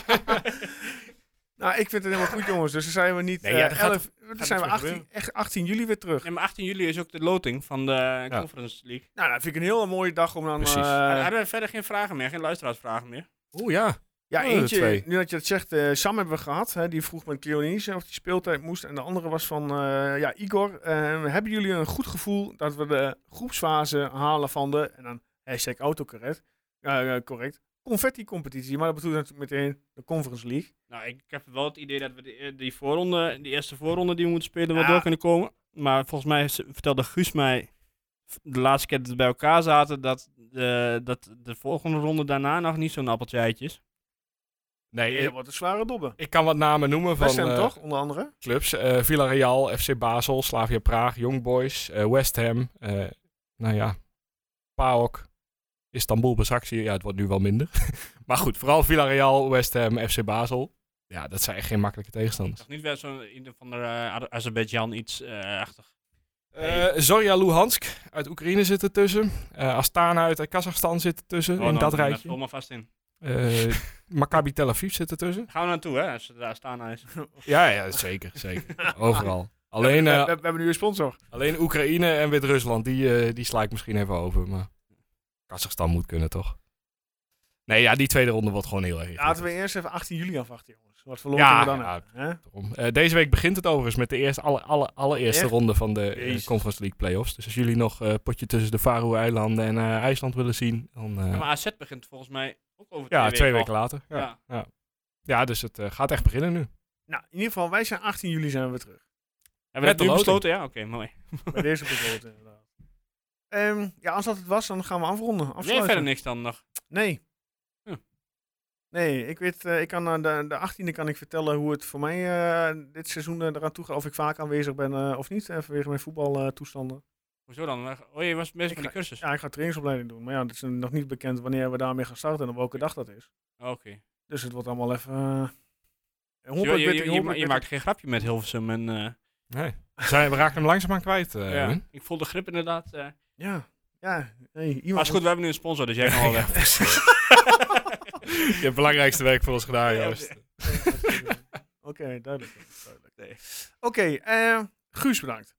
Nou, ik vind het helemaal goed, jongens. Dus dan zijn we niet.
Nee,
eh,
ja, er gaat-
11 dan
iets
zijn we
meer
18,
gebeuren.
echt 18 juli weer terug.
En maar 18 juli is ook de loting van de Conference League.
Nou, dat vind ik een hele mooie dag om dan.
Precies.
eh,
Maar hadden we verder geen vragen meer, geen luisteraarsvragen meer.
Oeh ja.
ja,
Oh, de
eentje.
twee.
Nu dat je dat zegt, eh, Sam hebben we gehad. Hè, die vroeg met Cleonice of die speeltijd moest. En de andere was van eh, ja, Igor. eh, hebben jullie een goed gevoel dat we de groepsfase halen van de. En dan hashtag autocorrect. eh, eh, correct. Confetti-competitie. Maar dat bedoelt natuurlijk meteen de Conference League.
Nou, ik, ik heb wel het idee dat we eh, die, die voorronde, die eerste voorronde die we moeten spelen, wel
Ja.
door kunnen komen. Maar volgens mij is- vertelde Guus mij v- de laatste keer dat we bij elkaar zaten, dat de, dat de volgende ronde daarna nog niet zo'n appeltje eitje is.
Nee,
Ja,
ik,
wat een zware dobben.
ik kan wat namen noemen van
West Ham
eh,
toch, onder andere?
clubs. Eh, Villarreal, FC Basel, Slavia Praag, Young Boys, eh, West Ham. eh, nou ja, PAOK, Istanbul, Besiktas. Ja, het wordt nu wel minder. (laughs) maar goed, vooral Villarreal, West Ham, FC Basel. Ja, dat zijn echt geen makkelijke tegenstanders.
Nog niet weer zo'n in de- van de eh, Azer- Azerbeidzjan iets eh achtig.
Eh Zorya Luhansk uit Oekraïne zit ertussen. Eh Astana uit eh, Kazachstan zit ertussen
Oh,
in
dan-
dat
dan
rijtje.
vul maar vast in.
Eh Maccabi Tel Aviv zit ertussen.
Gaan we naartoe, hè, als het daar staan is.
Ja, ja, zeker, zeker. Overal. Alleen,
we,
eh,
we- we hebben nu een sponsor.
Alleen Oekraïne en Wit-Rusland, die, eh, die sla ik misschien even over. Maar Kazachstan moet kunnen, toch? Nee, ja, die tweede ronde wordt gewoon heel erg.
Laten we eerst even 18 juli afwachten, jongens. Wat verloren
Ja,
we dan
ja.
hebben, hè?
ingewikkeld. Eh, deze week begint het overigens met de eerste, alle, alle, allereerste
Echt?
ronde van de eh,
Jezus.
Conference League Playoffs. Dus als jullie nog eh, potje tussen de Faroe-eilanden en eh, IJsland willen zien, dan eh,
Ja, Maar AZ begint volgens mij ook over
ja, twee weken
al.
later. Ja, ja.
Ja.
dus het eh, gaat echt beginnen nu.
Nou, in ieder geval, wij zijn 18 juli zijn we weer
(laughs)
terug.
Hebben we
Met
dat
de
nu
loting.
besloten? Ja, oké, mooi.
Bij deze bijvoorbeeld, inderdaad. Ehm, ja, als dat het was, dan gaan we afronden.
Nee,
Afsluiten.
verder niks dan nog.
Nee.
Hm.
Nee, ik weet, eh, ik kan, eh, de, de 18e kan ik vertellen hoe het voor mij eh, dit seizoen eh, eraan toe gaat. Of ik vaak aanwezig ben eh, of niet, eh, vanwege mijn voetbaltoestanden.
Hoezo dan? Oh, je was bezig
Ik
met de cursus.
ja, ik ga trainingsopleiding doen. Maar ja, het is nog niet bekend wanneer we daarmee gaan starten en op welke dag dat is.
Oh, Oké.
Dus het wordt allemaal even... eh,
Je,
honderd
je-
met-
je- je ma-
honderd
je
met-
maakt geen grapje met Hilversum. En, eh,
Nee. Zij, we raken hem langzaamaan kwijt. eh,
ja,
Erwin.
Ik voel de grip inderdaad. eh.
Ja, ja. Hey, iemand
Maar is goed,
moet-
we hebben nu een sponsor, dus jij kan wel weg.
(laughs)
(laughs)
Je hebt het belangrijkste werk voor ons gedaan,
Ja,
Joost.
Oké, duidelijk. duidelijk. Oké, eh, Guus bedankt.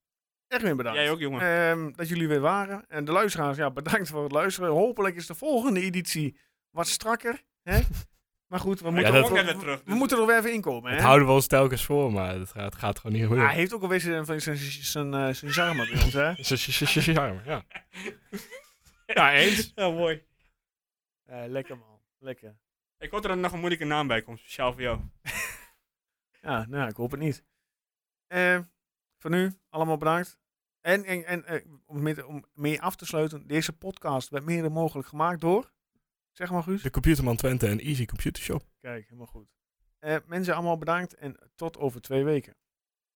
Erwin bedankt.
Jij ook, jongen.
Ehm, dat jullie weer waren. En de luisteraars, ja, bedankt voor het luisteren. Hopelijk is de volgende editie wat strakker.
(laughs)
Hè? Maar goed, we moeten,
dat-
er,
Ook
ook-
net weer terug,
we
dus-
moeten er weer even inkomen.
Het
Hè?
houden we ons telkens voor, maar het gaat, het gaat gewoon niet
Ah,
gebeuren.
Hij heeft ook alweer zijn, zijn, zijn, zijn, eh, zijn charme bij ons,
(laughs)
hè?
Z- z- z- z- Charme, ja. Ja, eens.
Ja, mooi.
Eh, lekker, man. Lekker.
Ik hoor dat er nog een moeilijke naam bij komt, speciaal voor jou.
Ja, nou, ik hoop het niet. Eh, voor nu, allemaal bedankt. En, en, en eh, om, met, om mee af te sluiten, deze podcast werd mede mogelijk gemaakt door. Zeg maar, Guus.
De Computerman Twente en Easy Computer Shop.
Kijk, helemaal goed. Eh, mensen, allemaal bedankt en tot over twee weken.